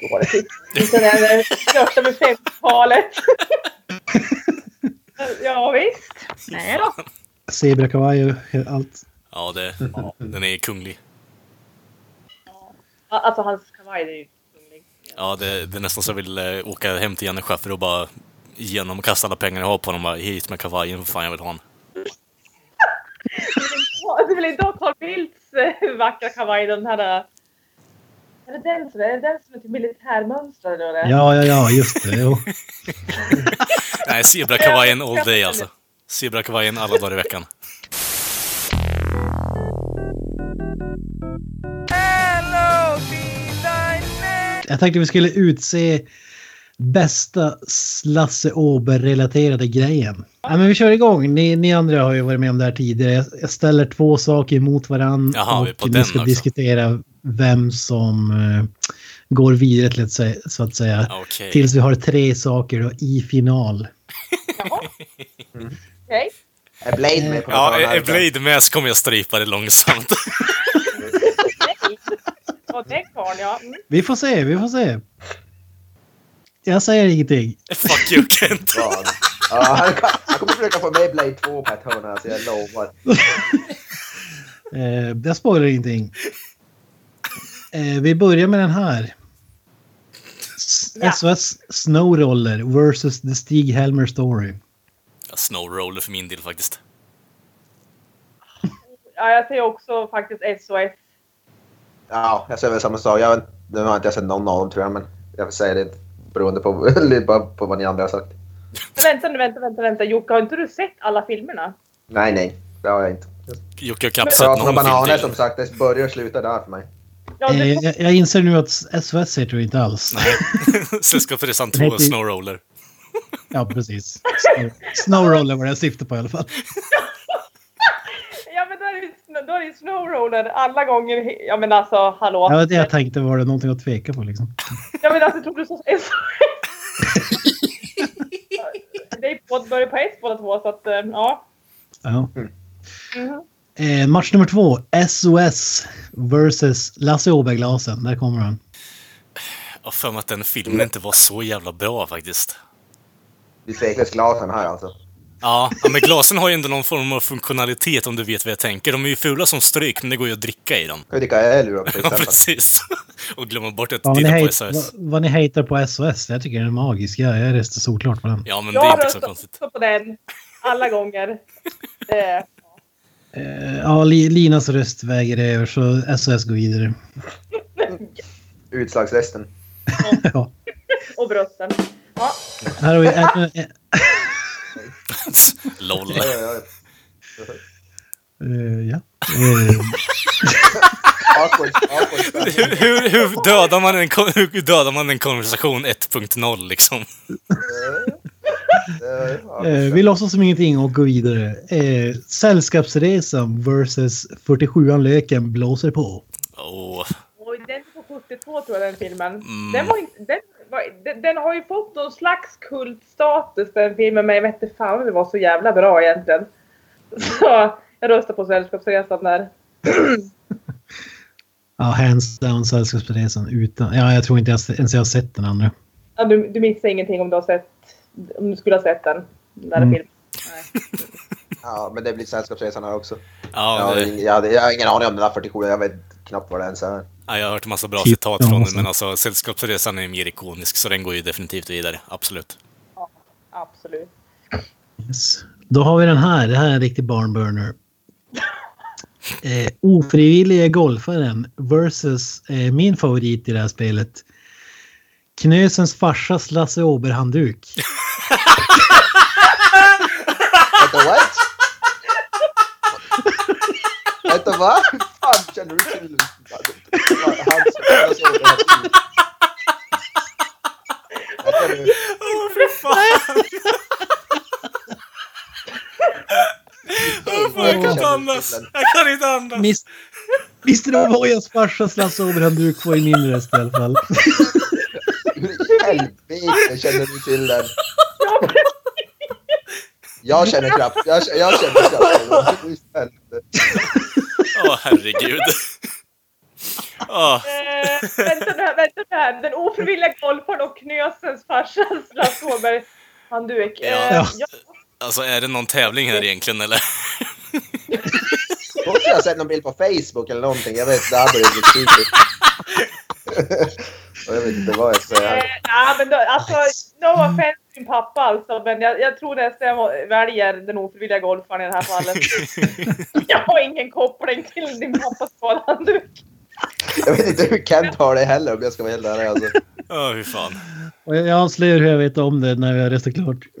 Speaker 5: Då var det typ lite den där största med 50-talet. ja, visst. Nej då.
Speaker 4: Zebrakavaj och allt.
Speaker 2: Ja, det, den är kunglig.
Speaker 5: Alltså hans kavaj, det är ju kunglig.
Speaker 2: Ja, det, det är nästan så jag vill eh, åka hem till Janne Schaffer och bara genom och kasta alla pengar jag har på honom. Bara, hit med kavajen, för fan jag vill ha den.
Speaker 5: Ja, Du vill inte ha Carl Bildts eh, vackra kavaj, den här... eh, Är det den som är, är, det den som är typ militärmönstrad? eller vad det är?
Speaker 4: Ja, ja, ja, just det. Jo.
Speaker 2: Nej, zebrakavajen all day alltså. Zebrakavajen alla dagar i veckan.
Speaker 7: Hello, D-Dynamic!
Speaker 4: Jag tänkte vi skulle utse bästa Lasse Åberg-relaterade grejen. Ja, men vi kör igång. Ni, ni andra har ju varit med om det här tidigare. Jag, jag ställer två saker mot varandra
Speaker 2: Jaha, vi är på
Speaker 4: och
Speaker 2: den
Speaker 4: ni ska
Speaker 2: också.
Speaker 4: diskutera vem som eh, går vidare till att säga, så att säga.
Speaker 2: Okej.
Speaker 4: Tills vi har tre saker då, i final.
Speaker 5: Okej.
Speaker 3: Är Blade med på
Speaker 2: Ja, är, är
Speaker 3: här?
Speaker 2: Blade med så kommer jag strypa det långsamt.
Speaker 5: Nej. Och den karln, ja. Mm.
Speaker 4: Vi får se, vi får se. Jag säger ingenting.
Speaker 2: Fuck you Kent!
Speaker 3: Ja, Ja, han, kan- han kommer försöka få med Blade 2 på ett hörn alltså, jag lovar.
Speaker 4: Eh, jag spoilar ingenting. Eh, vi börjar med den här. S-
Speaker 5: Ja.
Speaker 4: SOS Snowroller versus The Stig Helmer Story.
Speaker 2: Snowroller för min del faktiskt.
Speaker 5: ja. Jag säger också faktiskt SOS.
Speaker 3: Ja, jag säger väl samma sak. Jag, nu har inte jag sett någon av dem tror jag, men jag säger det beroende på, bara på vad ni andra har sagt.
Speaker 5: Men Vänta nu, vänta, vänta, vänta. Jocke, har inte du sett alla filmerna?
Speaker 3: Nej, nej. Det har jag inte.
Speaker 2: Jocke har knappt sett
Speaker 3: Prat med
Speaker 2: någon
Speaker 3: bananer
Speaker 2: film
Speaker 3: som
Speaker 2: till.
Speaker 3: sagt, det börjar och slutar där för mig.
Speaker 5: Ja,
Speaker 4: Eh,
Speaker 5: du,
Speaker 4: jag, jag inser nu att SOS heter det inte alls.
Speaker 2: Sällskapsresan
Speaker 4: Nej, typ.
Speaker 2: 2,
Speaker 4: det-
Speaker 2: Snowroller.
Speaker 4: Ja, precis. Snow- Snowroller var det jag syftade på i alla fall.
Speaker 5: ja men då är det ju sn- då är det ju Snowroller alla gånger. Ja men alltså hallå.
Speaker 4: Jag, jag tänkte, var det någonting att tveka på liksom?
Speaker 5: Ja men alltså tog du så SOS? det är på, börjar på S båda två så att eh, ja.
Speaker 4: Ja.
Speaker 5: Mhm.
Speaker 4: Eh, match nummer två. SOS versus Lasse Åberg-glasen. Där kommer han.
Speaker 2: Jag har för mig att den filmen
Speaker 3: Mm.
Speaker 2: inte var så jävla bra faktiskt.
Speaker 3: Vi seglas glasen här alltså.
Speaker 2: Ja, ja, men glasen har ju ändå någon form av funktionalitet om du vet vad jag tänker. De är ju fula som stryk, men det går ju att dricka i dem.
Speaker 3: Kan vi dricka öl ur dem till
Speaker 2: Ja,
Speaker 3: exempel?
Speaker 2: precis. Och glömma bort att
Speaker 4: Ja, vad, ni
Speaker 2: titta på
Speaker 4: hate,
Speaker 2: SOS.
Speaker 4: vad, vad ni hatar på SOS, jag tycker den är magisk. Jag, jag röstar solklart på den.
Speaker 2: Ja, men det är
Speaker 5: Jag
Speaker 2: inte så
Speaker 5: röstar
Speaker 2: konstigt.
Speaker 5: också på den. Alla gånger. Eh,
Speaker 4: Eh, ja, Li- Linas röst väger över så SOS går vidare.
Speaker 3: Utslagsresten.
Speaker 4: ja.
Speaker 5: och brösten. Ja.
Speaker 4: Här har vi ännu, eh,
Speaker 2: LOL.
Speaker 3: Oj, oj, oj.
Speaker 4: eh, ja. Eh,
Speaker 3: Awkward, awkward.
Speaker 2: Hur, hur, hur, dödar man en, kon- hur dödar man en konversation 1.0 liksom?
Speaker 3: Eh, ja.
Speaker 4: eh, vi låtsas som ingenting och går vidare. Eh, sällskapsresan versus 47an Löken blåser på.
Speaker 2: Åh,
Speaker 5: Oj, den är på 72 tror jag den filmen.
Speaker 4: Mm.
Speaker 5: Den, var inte, den, var, den, den har ju fått någon slags kultstatus den filmen men jag vet inte fan om det var så jävla bra egentligen. Så jag röstar på Sällskapsresan där.
Speaker 4: Ja, hands down Sällskapsresan utan... Ja, jag tror inte jag, ens jag har sett den andra.
Speaker 5: Ja, du, du missar ingenting om du har sett, om du skulle ha sett den. den där
Speaker 4: Mm.
Speaker 5: filmen. Nej.
Speaker 3: Ja, men det blir Sällskapsresan här också.
Speaker 2: ja,
Speaker 3: Ja,
Speaker 2: det,
Speaker 3: jag, hade, jag har ingen aning om den där 47, jag vet knappt vad det ens är.
Speaker 2: ja, jag har hört en massa bra
Speaker 4: Titta
Speaker 2: citat från den,
Speaker 4: någonstans.
Speaker 2: men alltså Sällskapsresan är mer ikonisk, så den går ju definitivt vidare. Absolut.
Speaker 5: Absolut.
Speaker 4: Yes. Då har vi den här. Det här är en riktig barnburner. Eh, ofrivillige golfaren versus eh, min favorit i det här spelet. Knösens farsas Lasse Åberg-handduk.
Speaker 3: Vänta, what? Vänta, va? Fan, känner du till... Hans- Hans- Hans-
Speaker 2: andas! Jag kan inte andas!
Speaker 4: Mis- Mr. O'Boyas farsa slassade över en duk var i min röst i alla fall.
Speaker 8: Hur i helvete känner du till den? Jag känner knappt, jag, känner- jag känner knappt den. Hur i helvete?
Speaker 2: Åh, herregud. Åh,
Speaker 5: Eh, vänta nu här, vänta nu här. Den ofrivilliga golfaren och knösens farsas Lasse Åberg. Han du är... Eh,
Speaker 4: Ja.
Speaker 5: ja.
Speaker 2: alltså är det någon tävling här egentligen eller?
Speaker 8: Då måste jag ha sett någon bild på Facebook eller någonting. Jag vet, det här börjar bli tydligt. Jag vet inte vad jag ska
Speaker 5: Eh,
Speaker 8: säga.
Speaker 5: nej, men då, alltså, no offense min pappa alltså, men jag, jag tror nästan jag väljer den ofrivilliga golfaren i det här fallet. jag har ingen koppling till din pappas skadande.
Speaker 8: Jag vet inte hur Kent har det heller om jag ska vara helt ärlig. Alltså.
Speaker 2: Åh, hur fan.
Speaker 4: Och jag avslöjar hur jag vet om det när vi har röstat klart.
Speaker 2: Ja,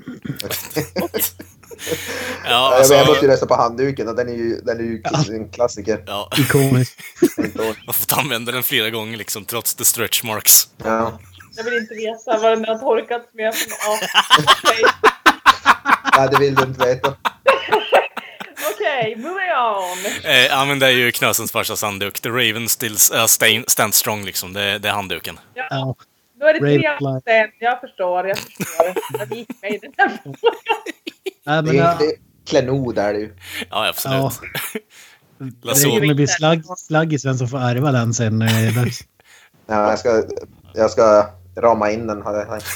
Speaker 8: Jag,
Speaker 2: alltså...
Speaker 8: vet, jag måste ju rösta på handduken och den är ju, den är ju en klassiker.
Speaker 2: Ja,
Speaker 4: Ikoniskt.
Speaker 2: man får använda den flera gånger liksom, trots the stretch marks.
Speaker 8: Ja.
Speaker 5: Jag vill inte veta vad den har torkats med. Men, ja. Okej,
Speaker 8: Nej, det vill du inte veta.
Speaker 5: Okej, moving on.
Speaker 2: Eh, ja, men det är ju Knösens farsas handduk. The Raven still uh, stain, stands strong liksom. Det, det är handduken.
Speaker 4: Ja.
Speaker 5: Då är det tre
Speaker 4: Rape life.
Speaker 5: procent. Jag förstår, jag förstår. Jag gick mig i den här frågan.
Speaker 8: Det
Speaker 4: Nej, men,
Speaker 8: är,
Speaker 4: ja,
Speaker 8: det är klenod är det ju.
Speaker 2: Ja, absolut.
Speaker 4: det
Speaker 2: Lasso,
Speaker 4: kommer bli slagg, slaggis vem som får ärva den sen när det är dags.
Speaker 8: Ja, jag, ska, jag ska rama in den. har jag tänkt.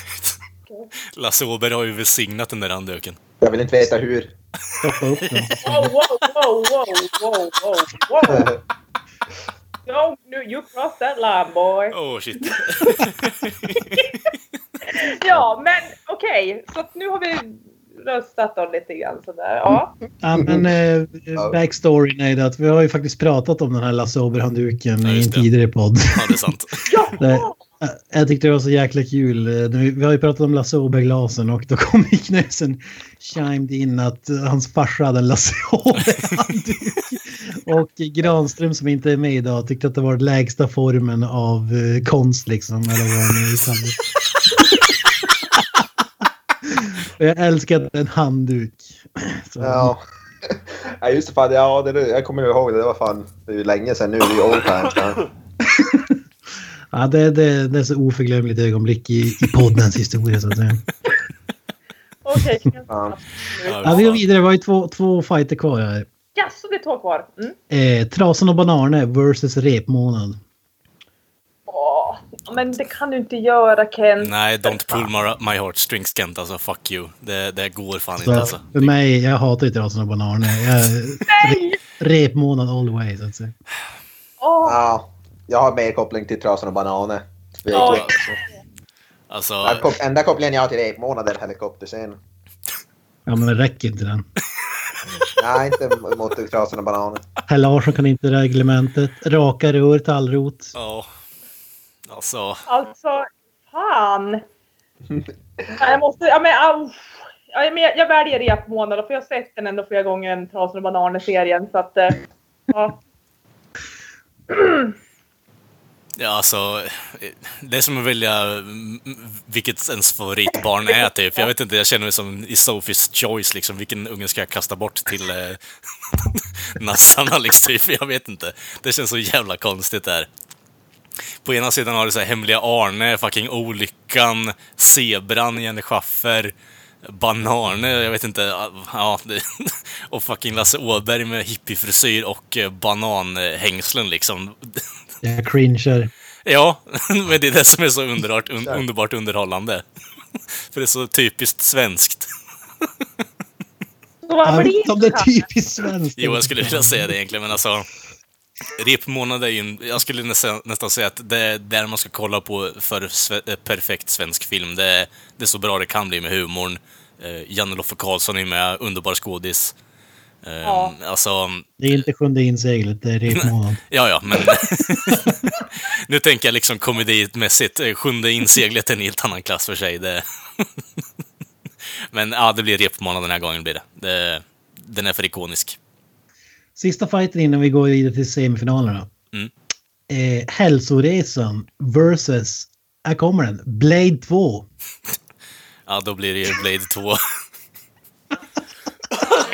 Speaker 2: Lasse Åberg har ju välsignat den där handduken.
Speaker 8: Jag vill inte veta hur.
Speaker 4: Stoppa upp den.
Speaker 5: Wow, wow, wow, wow, wow, wow, wow. Don't do, you cross that line boy.
Speaker 2: Åh, Oh, shit.
Speaker 5: Ja, men okej. Så att nu har vi röstat då lite grann sådär. Ja.
Speaker 4: Ja, men eh, backstoryn är det att vi har ju faktiskt pratat om den här Lasse Åberg-handduken
Speaker 2: Ja,
Speaker 4: i
Speaker 2: just
Speaker 4: en
Speaker 2: det.
Speaker 4: tidigare podd.
Speaker 2: Ja, det är sant.
Speaker 4: Det,
Speaker 5: ja.
Speaker 4: jag tyckte det var så jäkla kul. Eh, Vi vi har ju pratat om Lasse Åberg-glasen och då kom ju Knösen chimed in att eh, hans farsa hade en Lasse Åberg-handduk. Och Granström som inte är med idag tyckte att det var den lägsta formen av eh, konst liksom. Eller vad det nu är. Och jag älskar att det är en handduk. Så,
Speaker 8: Ja.
Speaker 4: Mm.
Speaker 8: Ja just det, fan, ja, det, jag kommer ju ihåg det. Det var fan det är ju länge sedan nu. Det är ju old times. Ja.
Speaker 4: ja, det, det, det är så oförglömligt ögonblick i, i poddens historia så att säga.
Speaker 5: Okej.
Speaker 8: Ja.
Speaker 4: Ja, vi går vidare, vi har ju två, två fighter kvar här.
Speaker 5: Ja, så det är två kvar. Mm.
Speaker 4: Eh, Trasan och Banarne versus Repmånad.
Speaker 5: Åh, men det kan du inte göra Ken.
Speaker 2: Nej, don't pull my, my heartstrings Kent, alltså fuck you. Det, det går fan
Speaker 4: Så
Speaker 2: inte alltså.
Speaker 4: För mig, jag hatar ju Trasan och Banarne. Jag, re, repmånad all the way så att säga.
Speaker 5: Åh,
Speaker 8: ja. Jag har mer koppling till Trasan och Bananer.
Speaker 5: Ja.
Speaker 2: Alltså,
Speaker 8: Ja, kop- Enda kopplingen jag har till repmånad är en helikopterscen.
Speaker 4: Ja men det räcker inte den.
Speaker 8: Nej, inte mot Trasan och Bananer.
Speaker 4: Herr Larsson kan inte reglementet. Raka rör, tallrot.
Speaker 2: ja. Alltså,
Speaker 5: alltså. Fan. Nej, jag måste, ja men au. Ja, men jag, jag väljer repmånad för jag har sett den ändå flera gånger, den Trasan och bananer-serien. Så att, eh, ja.
Speaker 2: ja, alltså. eh, Det är som att välja mm, vilket ens favoritbarn är typ. Jag vet inte, jag känner mig som i Sophies Choice liksom. Vilken unge ska jag kasta bort till eh, nassarna liksom? Typ. Jag vet inte. Det känns så jävla konstigt där. På ena sidan har du så här hemliga Arne, fucking olyckan, zebran, Jenny Schaffer, Banarne, jag vet inte, ah, ja, det, och fucking Lasse Åberg med hippiefrisyr och eh, bananhängslen liksom.
Speaker 4: Jag cringear.
Speaker 2: Ja, men det är det som är så underbart, un, underbart underhållande. För det är så typiskt svenskt.
Speaker 5: Så vad
Speaker 4: Jag vet
Speaker 5: blir
Speaker 4: inte om det typ- är typiskt svenskt.
Speaker 2: Jo, jag skulle vilja säga det egentligen, men alltså... Repmånad är ju en, Jag skulle nästan, nästan säga att det är där man ska kolla på för sve, eh, perfekt svensk film. Det, är- det är så bra det kan bli med humorn. Eh, Janne Loffe Karlsson är med, underbar skådis. Eh,
Speaker 5: Ja.
Speaker 2: Alltså,
Speaker 4: Det är inte sjunde inseglet, det är repmånad.
Speaker 2: ja, ja, men... nu tänker jag liksom komedimässigt. Eh, Sjunde inseglet är en helt annan klass för sig. Det... men ja, det blir repmånad den här gången. Blir det. Det, den är för ikonisk.
Speaker 4: Sista fighten innan vi går vidare till semifinalerna.
Speaker 2: Mm.
Speaker 4: Eh, hälsoresan versus, här kommer den, Blade 2.
Speaker 2: Ja, då blir det ju Blade 2.
Speaker 5: Eh,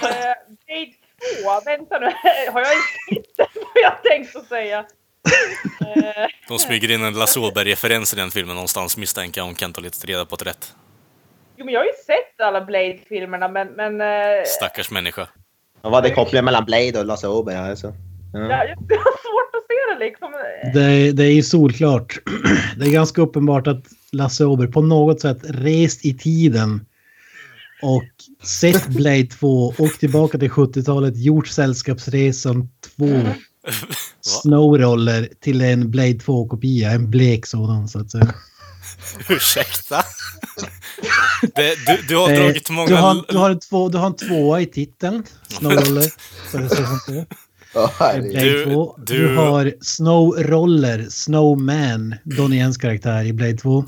Speaker 5: Blade 2. Åh, vänta nu. Har jag inte hittat vad jag tänkte säga? Eh,
Speaker 2: De smyger in en Lasse Åberg-referens i den filmen någonstans, misstänker jag, om Kent har lite reda på det rätt.
Speaker 5: jo, men jag har ju sett alla Blade-filmerna, men... men eh,
Speaker 2: Stackars människa.
Speaker 3: Vad var det kopplingen mellan Blade och Lasse Åberg? Alltså?
Speaker 5: jag, jag har svårt att se det liksom.
Speaker 4: Det, det är ju solklart. Det är ganska uppenbart att Lasse Åberg på något sätt rest i tiden och sett Blade 2, åkt tillbaka till 70-talet, gjort Sällskapsresan 2, Snowroller till en Blade 2-kopia, en blek sådan så att säga.
Speaker 2: Ursäkta? Det, du, du har
Speaker 4: Eh,
Speaker 2: dragit många...
Speaker 4: du, har, du, har en två, du har en tvåa i titeln, Snowroller. Så det ser som så.
Speaker 8: Ja, herregud.
Speaker 4: Blade
Speaker 2: Du-
Speaker 4: 2. Du,
Speaker 2: du-
Speaker 4: har Snow Roller, Snowman, Donnie Jens karaktär i Blade 2.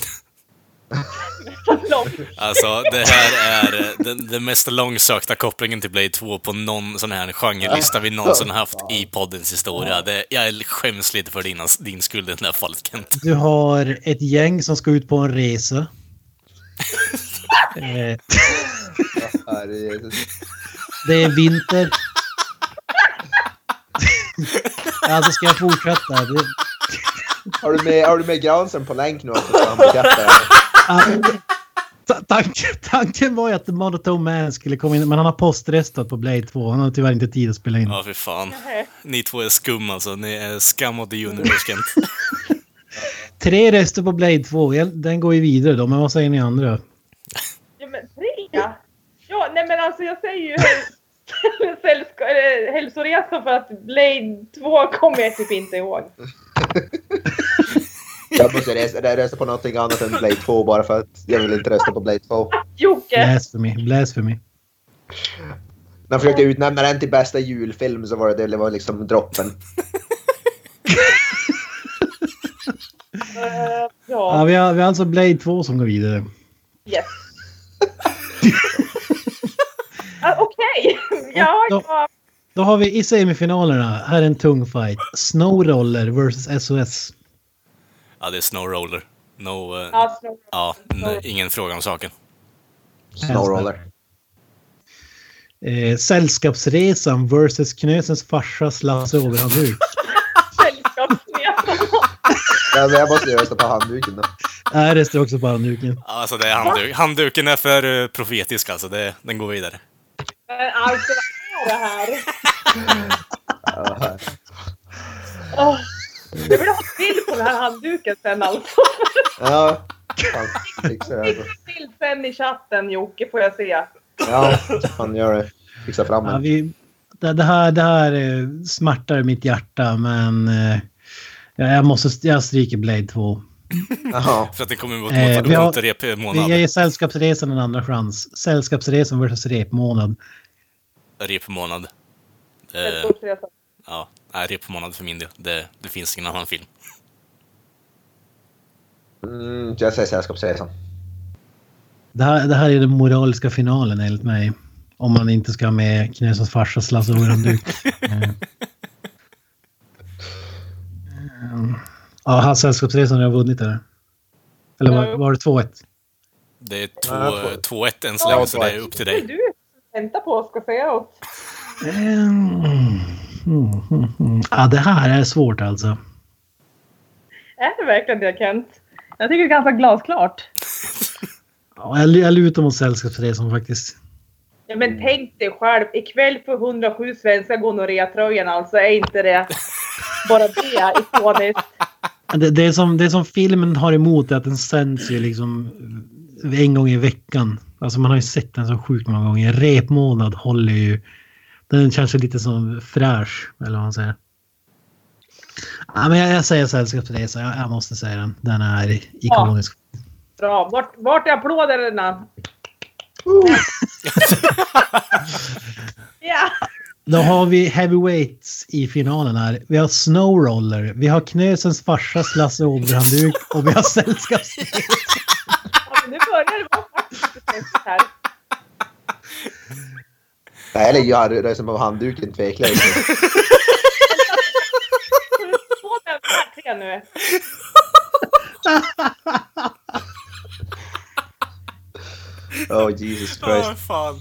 Speaker 2: Alltså, det här är eh, den, den mest långsökta kopplingen till Blade 2 på någon sån här genrelista vi någonsin haft i poddens historia. Det, jag skäms lite för din, din skuld i det här fallet, Kent.
Speaker 4: Du har ett gäng som ska ut på en resa. Eh,
Speaker 8: Herregud.
Speaker 4: det är vinter. alltså ska jag fortsätta? Det,
Speaker 8: Har du med, har du med Granström på länk nu också? Så han bekräftar det?
Speaker 4: ah, ta- tanken, tanken var ju att Monotone Man skulle komma in, men han har postrestat på Blade 2. Han har tyvärr inte tid att spela in.
Speaker 2: Ja, fy fan. Ni två är skum alltså. Ni är scum of the universe, Kent.
Speaker 4: Tre röster på Blade 2. Jag- Den går ju vidare då, men vad säger ni andra?
Speaker 5: Ja, men trea? Ja, nej men alltså jag säger ju häl- sällska- eller hälsoresa för att Blade 2 kommer jag typ inte ihåg.
Speaker 8: Jag måste rösta, rösta på någonting annat än Blade 2 bara för att jag vill inte rösta på Blade 2.
Speaker 5: Jocke!
Speaker 4: Bläs för mig. Bläs för mig.
Speaker 8: När jag försökte utnämna den till bästa julfilm så var det, det var liksom droppen.
Speaker 5: eh,
Speaker 4: Ja,
Speaker 5: ja,
Speaker 4: vi, har, vi har alltså Blade 2 som går vidare.
Speaker 5: yes. ah, Okej! ja, ja,
Speaker 4: Då har vi i semifinalerna, här är en tung fight. Snowroller vs SOS.
Speaker 2: Ja, det är Snow Roller. No... eh,
Speaker 5: ja. Snow Roller.
Speaker 2: ja, nej, ingen fråga om saken.
Speaker 8: Snowroller.
Speaker 4: Eh, sällskapsresan vs Knösens farsas Lasse Overhandduk.
Speaker 5: Sällskapsresan.
Speaker 8: Ja, men jag måste ju rösta på handduken då.
Speaker 4: Här röstar också på handduken.
Speaker 2: Alltså, det är handduk. handduken är för eh, profetisk alltså. Det, den går vidare.
Speaker 5: Men alltså vad är det här?
Speaker 8: Ja,
Speaker 5: Åh, Jag vill ha en bild på den här handduken sen alltså.
Speaker 8: Ja, fan, fixa det här då.
Speaker 5: Bild sen i chatten Jocke får jag
Speaker 2: Eh,
Speaker 5: se.
Speaker 8: Ja, fan gör det. Fixa fram
Speaker 4: Ja,
Speaker 8: en.
Speaker 4: vi, det, det, här, det här eh, smärtar mitt hjärta men eh, jag, jag, måste, jag stryker Blade 2.
Speaker 8: Ja,
Speaker 2: För att den kommer mot
Speaker 4: Eh,
Speaker 2: eh,
Speaker 4: vi har-
Speaker 2: återrep i
Speaker 4: Vi- Jag
Speaker 2: månad.
Speaker 4: ger Sällskapsresan en andra chans. Sällskapsresan vs Repmånad.
Speaker 2: Rep månad. Eh,
Speaker 5: Sällskapsresan.
Speaker 2: ja, nej, rep månad för min del. Det, det finns ingen annan film.
Speaker 8: mm, jag säger Sällskapsresan.
Speaker 4: Det här, det här är den moraliska finalen enligt mig. Om man inte ska ha med Knesens farsas Lasse Overhandduk. Eh. Mm. Ja, han Sällskapsresan har vunnit eller? Eller var, var det 2-1?
Speaker 2: Det är två-
Speaker 8: Ja, jag får-
Speaker 2: 2-1 än så länge, så det är
Speaker 8: 2-1.
Speaker 2: upp till
Speaker 5: Det
Speaker 2: dig.
Speaker 5: är du väntar på ska säga något.
Speaker 4: Mm. Mm, mm, mm. Ja, det här är svårt alltså.
Speaker 5: Är det verkligen det Kent? Jag tycker det är ganska glasklart.
Speaker 4: Ja, jag, jag lutar mot Sällskapsresan faktiskt.
Speaker 5: Ja,
Speaker 2: Mm.
Speaker 5: men tänk dig själv, ikväll får 107 svenskar gonorrétröjan alltså. Är inte det bara det ikoniskt?
Speaker 4: Men Det, det, som, det som filmen har emot är att den sänds ju liksom en gång i veckan. Alltså man har ju sett den så sjukt många gånger. Repmånad håller ju... Den känns ju lite som fräsch, eller vad man säger. Ja, men jag, jag säger Sällskapsresa, jag, jag måste säga den. Den är ikonisk.
Speaker 5: Bra. Vart, vart är applåderna? ja.
Speaker 4: Då har vi heavyweights i finalen här. Vi har Snowroller, vi har Knösens farsas Lasse Åberhandduk och vi har Sällskapsresa.
Speaker 5: ja, men nu börjar det vara faktiskt här.
Speaker 8: Nej, eller jag röstar på handduken tveklöst.
Speaker 5: Två med de här tre nu.
Speaker 8: Oh Jesus
Speaker 2: Åh,
Speaker 3: Oh,
Speaker 8: Christ.
Speaker 2: fan.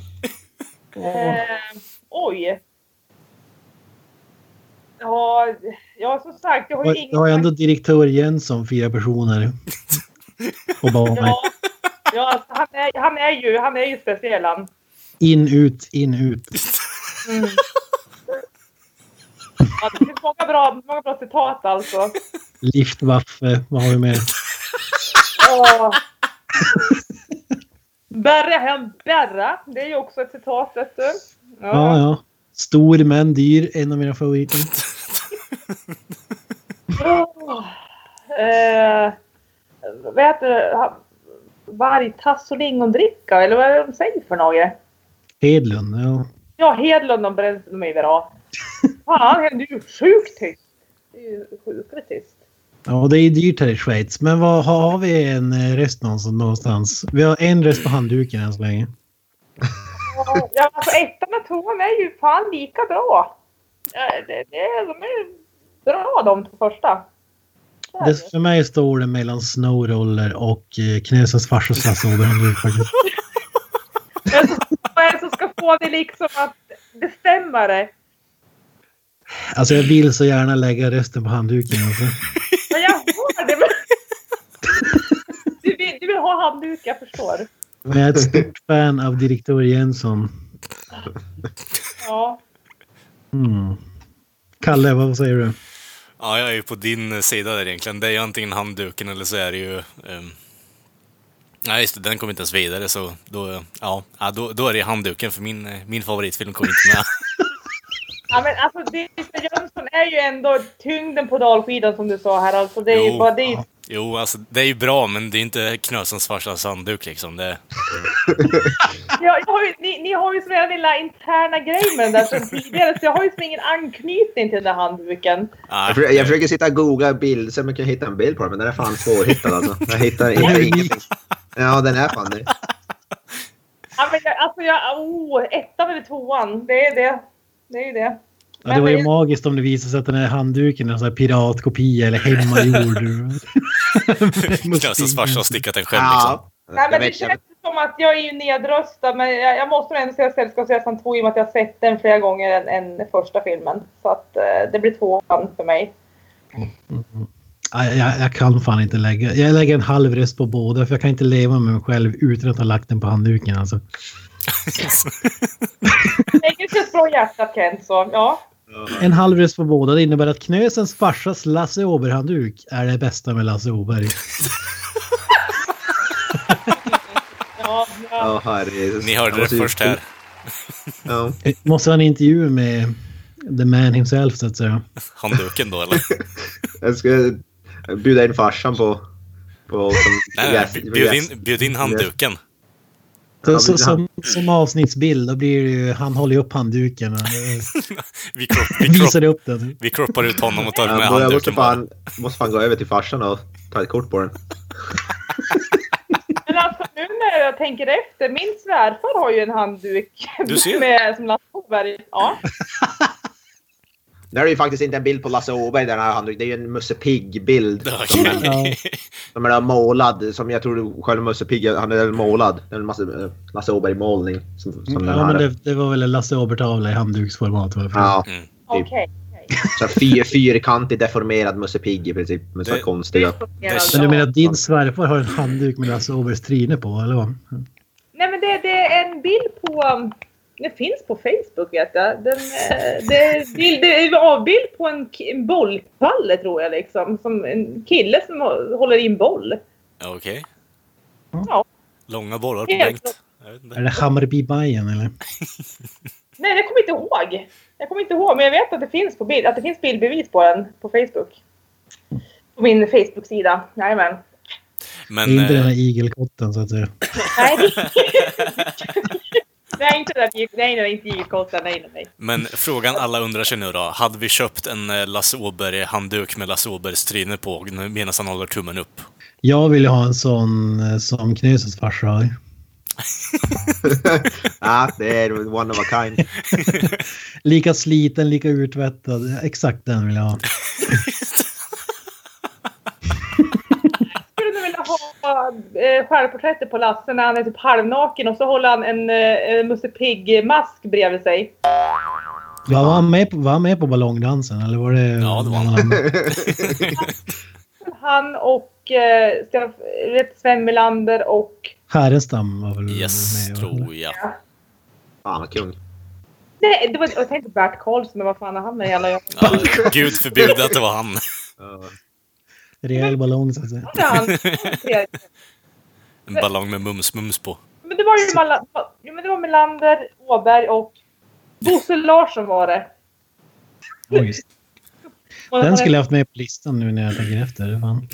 Speaker 5: Eh, oj. jag, ja, som sagt, jag har ju
Speaker 4: Jag- Jag har ändå direktör Jönsson, fyra personer. Obama.
Speaker 5: Ja, ja alltså, han, är, han, är ju, han är ju speciell han.
Speaker 4: In, ut, in, ut.
Speaker 5: Ja, det finns många bra, många bra citat alltså.
Speaker 4: Liftwaffe, vad har vi mer?
Speaker 5: Åh. Berra hem berra. Det är ju också ett citat vet du.
Speaker 4: Ja, ja. Stor men dyr, en av mina favoriter.
Speaker 5: Åh. Eh, vad heter det? Ha- Vargtass och lingondricka eller vad är det de säger för något?
Speaker 4: Hedlund, ja.
Speaker 5: Ja, Hedlund och Brännström, de är ju bra. Fan, det är ju sjukt tyst. Det är ju sjukt tyst.
Speaker 4: Ja, det är dyrt här i Schweiz. Men vad har har vi en eh, röst någonstans- någonstans? Vi har en röst på handduken än så länge.
Speaker 5: Ja, Ja, alltså ettan och tvåan är ju fan lika bra. Ja, Det, det, de är ju bra de två första. Så är det
Speaker 4: Det, för mig står det mellan Snowroller och eh, Knösens farsas Lasse Åberg. faktiskt.
Speaker 5: Men så- Vad är det som ska få dig liksom att bestämma dig?
Speaker 4: Alltså jag vill så gärna lägga rösten på handduken. Alltså.
Speaker 5: Men jag hör det. Men... Du vill, du vill ha handduk, jag förstår.
Speaker 4: Men jag är ett stort fan av direktör Jensson.
Speaker 5: Ja.
Speaker 4: Mm. Kalle, vad säger du?
Speaker 2: Ja, jag är ju på din eh, sida där egentligen. Det är ju antingen handduken eller så är det ju... ehm, Nej, just det, den kom inte ens vidare så då, ja, ja, då, då är det handduken för min, eh, min favoritfilm kom inte med.
Speaker 5: ja men alltså, Dicka Jönsson är ju ändå tyngden på dalskidan som du sa här. Alltså, det är
Speaker 2: Jo.
Speaker 5: ju bara det. är-
Speaker 2: Jo, alltså det är ju bra men det är inte Knösens farsas handduk liksom. Det,
Speaker 5: Jag, jag har ju, ni, ni har ju som era lilla interna grej med den där sedan tidigare så jag har ju som ingen anknytning till den där handduken.
Speaker 2: ah,
Speaker 3: Jag, försöker, jag försöker sitta och googla bild så man kan hitta en bild på den, men den är fan svårhittad alltså. Jag hittar, hittar ingenting. Ja, den är fan det.
Speaker 5: Ja, men jag, alltså jag, oh, ettan eller tvåan, det är det. Det är ju det.
Speaker 4: Ja, det var ju
Speaker 5: Men-
Speaker 4: magiskt om det visade sig att den här handduken är en sån här piratkopia eller hemmagjord.
Speaker 2: Knösens farsa har stickat den själv liksom.
Speaker 3: Ja.
Speaker 5: Nej,
Speaker 3: Jag
Speaker 5: men det
Speaker 3: vet, jag vet.
Speaker 5: känns som att jag är ju nedröstad, men jag, jag måste nog ändå säga Sällskapsresan 2 i och med att jag har sett den flera gånger än, än första filmen. Så att eh, det blir tvåan för mig.
Speaker 4: jag, jag, jag kan fan inte lägga. Jag lägger en halv röst på båda för jag kan inte leva med mig själv utan att ha lagt den på handduken. Alltså.
Speaker 2: liksom.
Speaker 5: Det känns bra i hjärtat Kent, så ja.
Speaker 4: En halv röst på båda det innebär att Knösens farsas Lasse Åberg-handduk är det bästa med Lasse Åberg.
Speaker 5: ja,
Speaker 3: Ja,
Speaker 5: ja.
Speaker 3: herrejesus.
Speaker 2: Ni hörde
Speaker 3: Jag
Speaker 2: det
Speaker 3: måste ju-
Speaker 2: först här.
Speaker 3: Ja.
Speaker 4: Måste ha en intervju med the man himself så att säga.
Speaker 2: Handduken då eller?
Speaker 3: Jag skulle bjuda in farsan på... på som,
Speaker 2: Nej, nej,
Speaker 3: gäst-
Speaker 2: nej, bjud
Speaker 3: gäst-
Speaker 2: in, bjud in handduken.
Speaker 4: Så,
Speaker 3: Ja,
Speaker 4: så,
Speaker 3: men
Speaker 4: som,
Speaker 3: han-
Speaker 4: som avsnittsbild då blir det ju, han håller ju upp handduken och
Speaker 2: Vi, kropp, vi, kropp,
Speaker 4: visar upp den.
Speaker 2: vi kroppar ut honom och tar med
Speaker 3: Ja, jag måste
Speaker 2: handduken bara.
Speaker 3: fan, måste fan gå över till farsan och ta ett kort på den.
Speaker 5: Men alltså nu när jag tänker efter, min svärfar har ju en handduk
Speaker 2: Du ser.
Speaker 5: med, som Lasse Åberg. Ja.
Speaker 3: Nu är det ju faktiskt inte en bild på Lasse Åberg den här handduken. Det är ju en Musse Pigg-bild.
Speaker 2: Okej.
Speaker 4: Ja.
Speaker 3: Som är målad, som jag tror själv Musse Pigg, han är målad. Det är en massa eh, Lasse Åberg-målning. Som, som den
Speaker 4: Mm, Ja,
Speaker 3: här.
Speaker 4: men det, det var väl en Lasse Åberg-tavla i handduksformat. Varför?
Speaker 3: Ja,
Speaker 2: Mm.
Speaker 3: Typ.
Speaker 5: Okej.
Speaker 3: så här fyr, fyrkantig deformerad Musse Pigg i princip. Men så
Speaker 2: Det-
Speaker 3: konstiga.
Speaker 2: Det-
Speaker 4: Men du menar att din svärfar har en handduk med Lasse Åbergs tryne på, eller vad?
Speaker 5: Nej men det, det är en bild på... um, Den finns på Facebook vet jag. Den, eh, det, är en bild, det är en avbild på en, ki- en bollpalle tror jag liksom. Som en kille som hå- håller i en boll.
Speaker 2: Okej.
Speaker 5: Ja.
Speaker 2: Långa bollar på
Speaker 5: Helt
Speaker 2: Bengt. Jag vet
Speaker 4: Är
Speaker 2: inte.
Speaker 4: det Hammarby Bajen eller?
Speaker 5: Nej jag kommer inte ihåg. Jag kommer inte ihåg men jag vet att det finns, på bild, att det finns bildbevis på den på Facebook. På min Facebook-sida. Jajamän.
Speaker 4: Det är
Speaker 2: Men
Speaker 4: inte den
Speaker 2: eh,
Speaker 4: här igelkotten så att säga.
Speaker 5: Nej. nej inte den där Nej nej inte JK-kåtan. Nej nej nej.
Speaker 2: Men frågan alla undrar sig nu då. Hade vi köpt en eh, Lasse Åberg-handduk med Lasse Åbergs tryne på medan han håller tummen upp?
Speaker 4: Jag vill ju ha en sån eh, som Knösens farsa har.
Speaker 3: Ja, det är one of a kind.
Speaker 4: Lika sliten, lika urtvättad. Exakt den vill jag ha.
Speaker 5: skulle nog vilja ha eh, självporträttet på Lasse när han är typ halvnaken och så håller han en eh, Musse Pigg-mask bredvid sig.
Speaker 4: Var var han med på, var han med på ballongdansen eller var det...
Speaker 2: Ja, det var han.
Speaker 5: Han och eh, Stef- vet, Sven Melander och...
Speaker 4: Härenstam var väl
Speaker 2: Yes,
Speaker 4: med?
Speaker 2: tror jag.
Speaker 3: Fan vad kung.
Speaker 5: Nej, det var, jag tänkte Bert Karlsson, men vad fan är han med i alla jävla...
Speaker 2: Ja, Gud förbjude att det var han.
Speaker 3: Ja.
Speaker 4: Rejäl ballong så att säga.
Speaker 5: Vad är han?
Speaker 2: En ballong med mums-mums på.
Speaker 5: Men det var ju Mala, jo, men det var Melander, Åberg och Bosse Larsson var det.
Speaker 4: Oj,
Speaker 5: Och
Speaker 4: den skulle jag haft med på listan nu när jag tänker efter. Fan.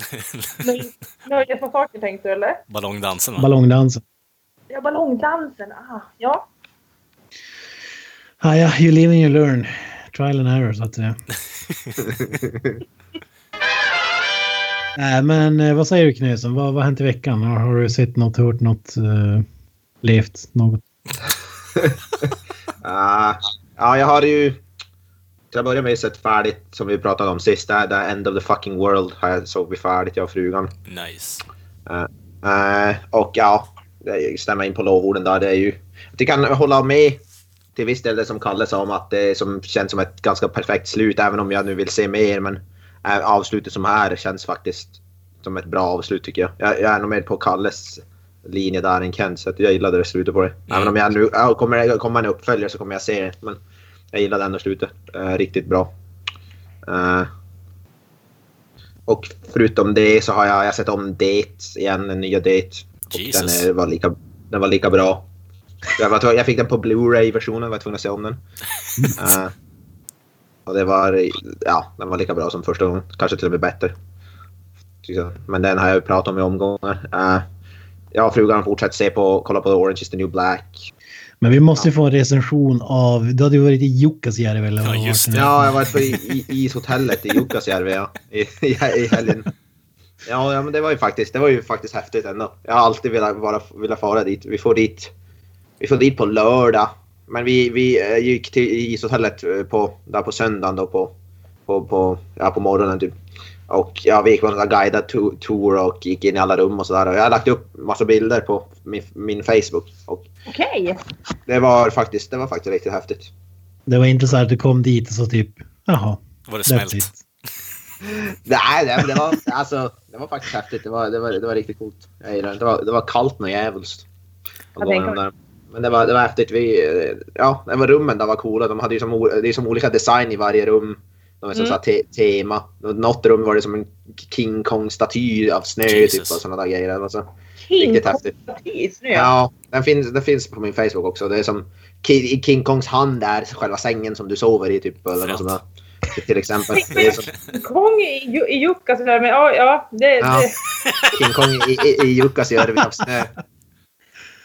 Speaker 5: Nu har jag gett några saker tänkte du eller?
Speaker 2: Ballongdansen va?
Speaker 4: Ballongdansen.
Speaker 5: Ja, ballongdansen. Ah, ja.
Speaker 4: Ah, ja, you live and you learn. Trial and error så att säga. Nej, men eh, vad säger du Knösen? Vad, vad har hänt i veckan? Har, har du sett något, hört något, eh, levt något?
Speaker 3: Ah, ja, jag har ju till att börja med sett färdigt som vi pratade om sist. Där, där End of the fucking world har jag såg vi färdigt, jag och frugan.
Speaker 2: Nice.
Speaker 3: Eh, och ja, det stämmer in på lovorden där. Det är ju, det kan hålla med till viss del det som Kalle sa om att det som känns som ett ganska perfekt slut även om jag nu vill se mer. Men eh, avslutet som här känns faktiskt som ett bra avslut tycker jag. Jag, jag är nog mer på Kalles linje där än Kent så att jag gillade det slutet på det. Även om jag nu ja, kommer det komma en uppföljare så kommer jag se det. Men jag gillade ändå slutet eh, riktigt bra. Eh, och förutom det så har jag, jag har sett om Date igen, den nya Date. Och
Speaker 2: Jesus.
Speaker 3: den, eh, var lika, den var lika bra. Jag, var, tvungen- jag fick den på Blu-ray-versionen, var tvungen att se om den. Eh, och det var, ja, den var lika bra som första gången. Kanske till och med bättre. tycker jag. Men den har jag ju pratat om i omgångar. Eh, jag och frugan fortsätter se på, kolla på Orange is the new black.
Speaker 4: Men vi måste ju få en recension av... Du hade ju varit i Jukkasjärvi eller vad
Speaker 2: Ja,
Speaker 4: det var
Speaker 2: just
Speaker 4: för
Speaker 2: det.
Speaker 4: något.
Speaker 3: Ja, jag var på i, i, ishotellet i Jukkasjärvi ja. I, i, i helgen. Ja, ja, men det var ju faktiskt, det var ju faktiskt häftigt ändå. Jag har alltid velat, vara, velat fara dit. Vi får dit. Vi får dit på lördag. Men vi, vi eh, gick till ishotellet eh, på, där på söndagen då på, på, på, ja, på morgonen typ. Och ja, vi gick på en sån där guidad to- tour och gick in i alla rum och sådär. Och jag har lagt upp massa bilder på min, min Facebook. Och
Speaker 5: Okej.
Speaker 3: det var faktiskt, det var faktiskt riktigt häftigt.
Speaker 4: Det var inte så här att du kom dit och så typ... Jaha,
Speaker 2: Var det
Speaker 4: that's
Speaker 2: smält?
Speaker 4: it.
Speaker 3: Nej, nej men det var, alltså, det var faktiskt häftigt. Det var, det var, det var riktigt coolt. Jag gillar det. Det var, det var kallt något jävligt.
Speaker 5: Jag tänker mig.
Speaker 3: Men det var, det var häftigt. Vi, eh, ja, det var rummen där var coola. De hade ju som, o- det är som olika design i varje rum. De är som
Speaker 5: Mm.
Speaker 3: så här te, tema. Något rum var det som en King Kong-staty av snö typ, och
Speaker 2: Jesus.
Speaker 3: sådana där grejer. Det var så-
Speaker 5: King
Speaker 3: Riktigt
Speaker 5: Kong
Speaker 3: häftigt.
Speaker 5: Patis nu ja.
Speaker 3: Ja, den finns, den finns på min Facebook också. Det är som Ki- i King Kongs hand är själva sängen som du sover i typ. Eller något sånt där. Till exempel. Det är som,
Speaker 5: King Kong i, Ju- i Jukka sådär, men ja, ja, det,
Speaker 3: Ja.
Speaker 5: det,
Speaker 3: King Kong i, i, i Jukkasjärvi av snö.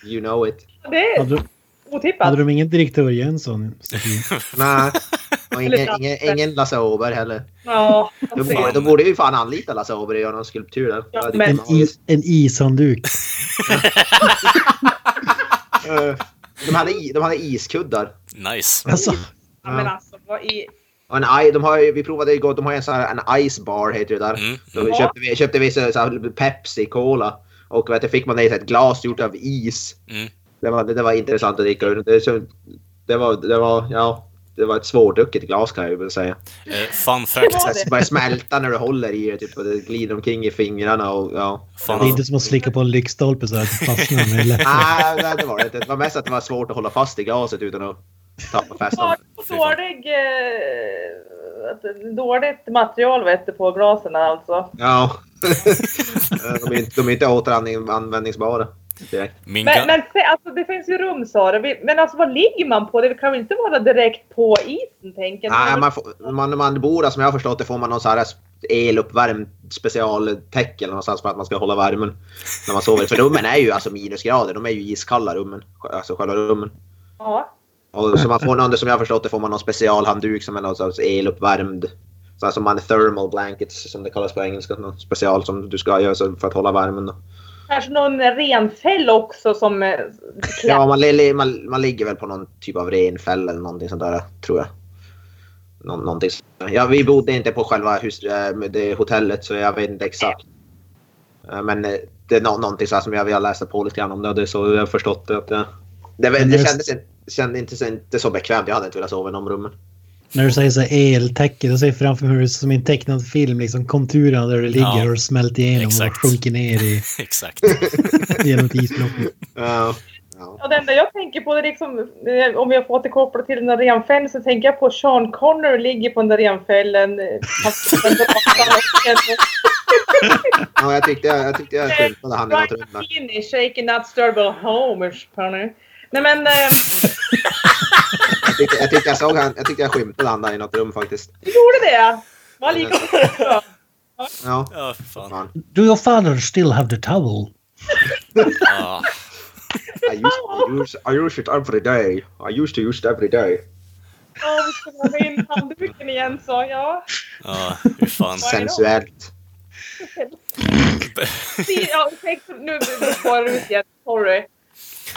Speaker 3: You know it.
Speaker 5: det är
Speaker 4: Hade,
Speaker 5: otippat.
Speaker 4: hade de ingen direktör Jönsson?
Speaker 3: Nej. Och ingen,
Speaker 5: Eller
Speaker 3: ingen, ingen Lasse Åberg heller.
Speaker 5: Ja,
Speaker 3: Då borde, då borde vi fan anlita Lasse Åberg och göra någon skulptur där.
Speaker 5: Ja,
Speaker 3: Det hade
Speaker 4: En,
Speaker 3: ju
Speaker 4: i, en ishandduk.
Speaker 3: varit- de, hade, i- de hade iskuddar.
Speaker 2: Nice.
Speaker 4: Alltså,
Speaker 5: ja, men alltså, vad i...
Speaker 3: Och en, i- de har, ju- vi provade igår, de har ju en, sån här, en ice bar heter det där.
Speaker 2: Mm.
Speaker 3: Då köpte vi, köpte vi så, så här Pepsi Cola. Och vet du, fick man det i ett glas gjort av is.
Speaker 2: Mm.
Speaker 3: Det, var, det var intressant att dricka ur. Det, så- det, var, det, var, ja, det var ett svårdrucket glas kan jag väl säga.
Speaker 2: Eh, fun fact.
Speaker 5: Ja,
Speaker 3: Så
Speaker 5: det.
Speaker 3: det börjar smälta när du håller i det typ, och det glider omkring i fingrarna och ja.
Speaker 4: det är
Speaker 2: Fan,
Speaker 4: inte som att slicka på en lyktstolpe så att det fastnar. men det är lätt.
Speaker 3: Nej, nej, det var det inte. Det var mest att det var svårt att hålla fast i glaset utan att tappa fästet.
Speaker 5: Dålig, eh, att- dåligt material vet du, på glasen alltså.
Speaker 3: Ja. De är, inte- de är inte återanvändningsbara. Direkt.
Speaker 2: min,
Speaker 5: Men,
Speaker 2: ga-
Speaker 5: men se, alltså, det finns ju rum sa du. Vi- Men alltså vad ligger man på? Det kan väl inte vara direkt på isen tänker jag.
Speaker 3: Nej, man, får, man, man bor där, som jag har förstått det får man någon så här eluppvärmd specialtäcke eller någonstans för att man ska hålla värmen när man sover. För rummen är ju alltså minusgrader. De är ju iskalla rummen. Alltså själva rummen.
Speaker 5: Ja.
Speaker 3: Och så man får någon, som jag har förstått det får man någon specialhandduk som är någon sorts eluppvärmd. Så här som man thermal blankets som det kallas på engelska. Någon special som du ska göra så för att hålla värmen. då.
Speaker 5: Kanske någon renfäll också som... eh,
Speaker 3: Ja, man, li- man, man ligger väl på någon typ av renfäll eller någonting sånt där tror jag. Nå, någonting sånt. där. Ja, vi bodde inte på själva hus, eh, med det hotellet så jag vet inte exakt. Eh, Men eh, det är nå, någonting så här som jag, jag läste på lite grann om det och det är så jag har förstått det. Att, eh, det, det,
Speaker 4: Men
Speaker 3: det
Speaker 4: just-
Speaker 3: kändes, inte- kändes inte, så- inte så bekvämt. Jag hade inte velat sova i de rummen.
Speaker 4: När du säger så här eltäcke, då ser jag framför mig hur det är som i en tecknad film, liksom konturerna där det ligger
Speaker 2: Ja.
Speaker 4: och smält igenom
Speaker 2: Exakt.
Speaker 4: och sjunker ner i,
Speaker 2: Exakt.
Speaker 4: genom ett isblock.
Speaker 3: Eh, Ja.
Speaker 5: Och det enda jag tänker på, det är liksom, eh, om jag får återkoppla till den där renfällen, så tänker jag på Sean Connery ligger på den där renfällen. eh, Han sitter under mattan
Speaker 3: ja, jag tyckte jag, jag, tyckte jag skymtade han i något
Speaker 5: och
Speaker 3: rum. där.
Speaker 5: Martini, shaking not stirrable homers, Connery. Nej men, eh,
Speaker 3: Jag tyckte jag, tyckte jag såg han, jag tyckte jag skymtade han där i något rum faktiskt.
Speaker 5: du gjorde det! Var lika bra.
Speaker 3: Ja.
Speaker 2: Ja, för fan.
Speaker 3: Fan.
Speaker 4: Do your father still have the towel?
Speaker 2: Ja.
Speaker 3: I use, I, use, I use it every day. I used to use it every day.
Speaker 5: Ja, vi ska ha in handduken igen så ja.
Speaker 2: Ja, hur fan.
Speaker 3: Sensuellt.
Speaker 5: ja ursäkta, nu spårar du ut igen. Sorry. Ja.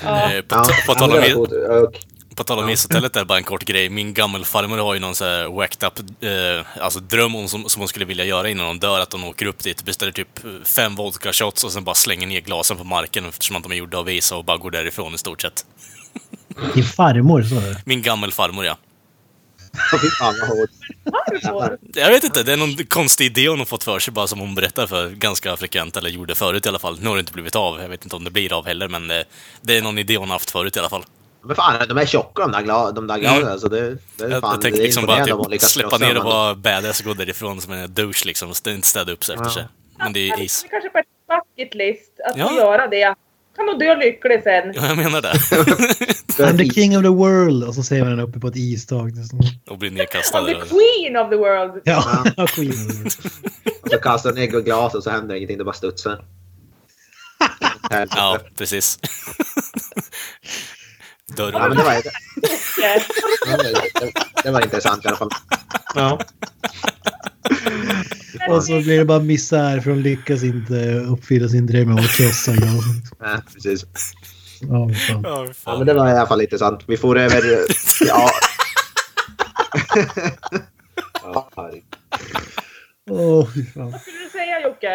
Speaker 2: Eh, På,
Speaker 3: Ja,
Speaker 2: ta- på
Speaker 3: han
Speaker 2: tal om
Speaker 3: rör
Speaker 2: i-
Speaker 3: på det. Och-
Speaker 2: På tal om ishotellet där, bara en kort grej. Min gammelfarmor har ju någon så här whacked up eh, alltså dröm hon som, som hon skulle vilja göra innan hon dör. Att hon åker upp dit, beställer typ fem vodka shots och sen bara slänger ner glasen på marken eftersom att de är gjorda av is och bara går därifrån i stort sett.
Speaker 4: Din farmor sa du?
Speaker 2: Min gammelfarmor ja.
Speaker 3: Fy fan vad hårt.
Speaker 5: Varför?
Speaker 2: Jag vet inte, det är någon konstig idé hon har fått för sig bara som hon berättar för ganska frekvent, eller gjorde förut i alla fall. Nu har det inte blivit av, jag vet inte om det blir av heller, men eh, det är någon idé hon har haft förut i alla fall.
Speaker 3: Men fan, de är tjocka de där, gla, de där glasen.
Speaker 2: Mm.
Speaker 3: Alltså det, det är
Speaker 2: Jag,
Speaker 3: fan,
Speaker 2: jag tänkte
Speaker 3: det är
Speaker 2: liksom bara
Speaker 3: imponerande om man
Speaker 2: typ
Speaker 3: lyckas
Speaker 2: släppa
Speaker 3: krossa
Speaker 2: ner och
Speaker 3: dem.
Speaker 2: vara badass och gå därifrån som en douche liksom, och st- inte städa upp sig efter sig. Men det är ju is.
Speaker 5: Det kanske bara är en bucket list att
Speaker 2: Ja.
Speaker 5: få göra det. Kan nog dö lycklig sen.
Speaker 2: Ja, jag menar det.
Speaker 4: I'm the king of the world! Och så ser man den uppe på ett istak. Det är som-
Speaker 2: Och bli
Speaker 5: I'm
Speaker 2: nedkastad.
Speaker 5: the queen of the world!
Speaker 4: Ja, queen of the world.
Speaker 3: Och så kastar de ner glas och så händer ingenting, det bara studsar.
Speaker 2: Ja, precis. Dörr.
Speaker 3: Ja, men det, var, det,
Speaker 5: Yes.
Speaker 3: var, det var intressant i alla fall.
Speaker 4: Ja. Och så blir det bara misär för de lyckas inte uppfylla sin dröm om att krossa glasen.
Speaker 3: Ja, precis.
Speaker 4: Ja, fan.
Speaker 2: Ja, fy fan.
Speaker 3: Ja, men det var i alla fall intressant. Vi får över... Ja. ja, herregud.
Speaker 4: Åh, fy fan.
Speaker 5: Vad skulle du säga Jocke?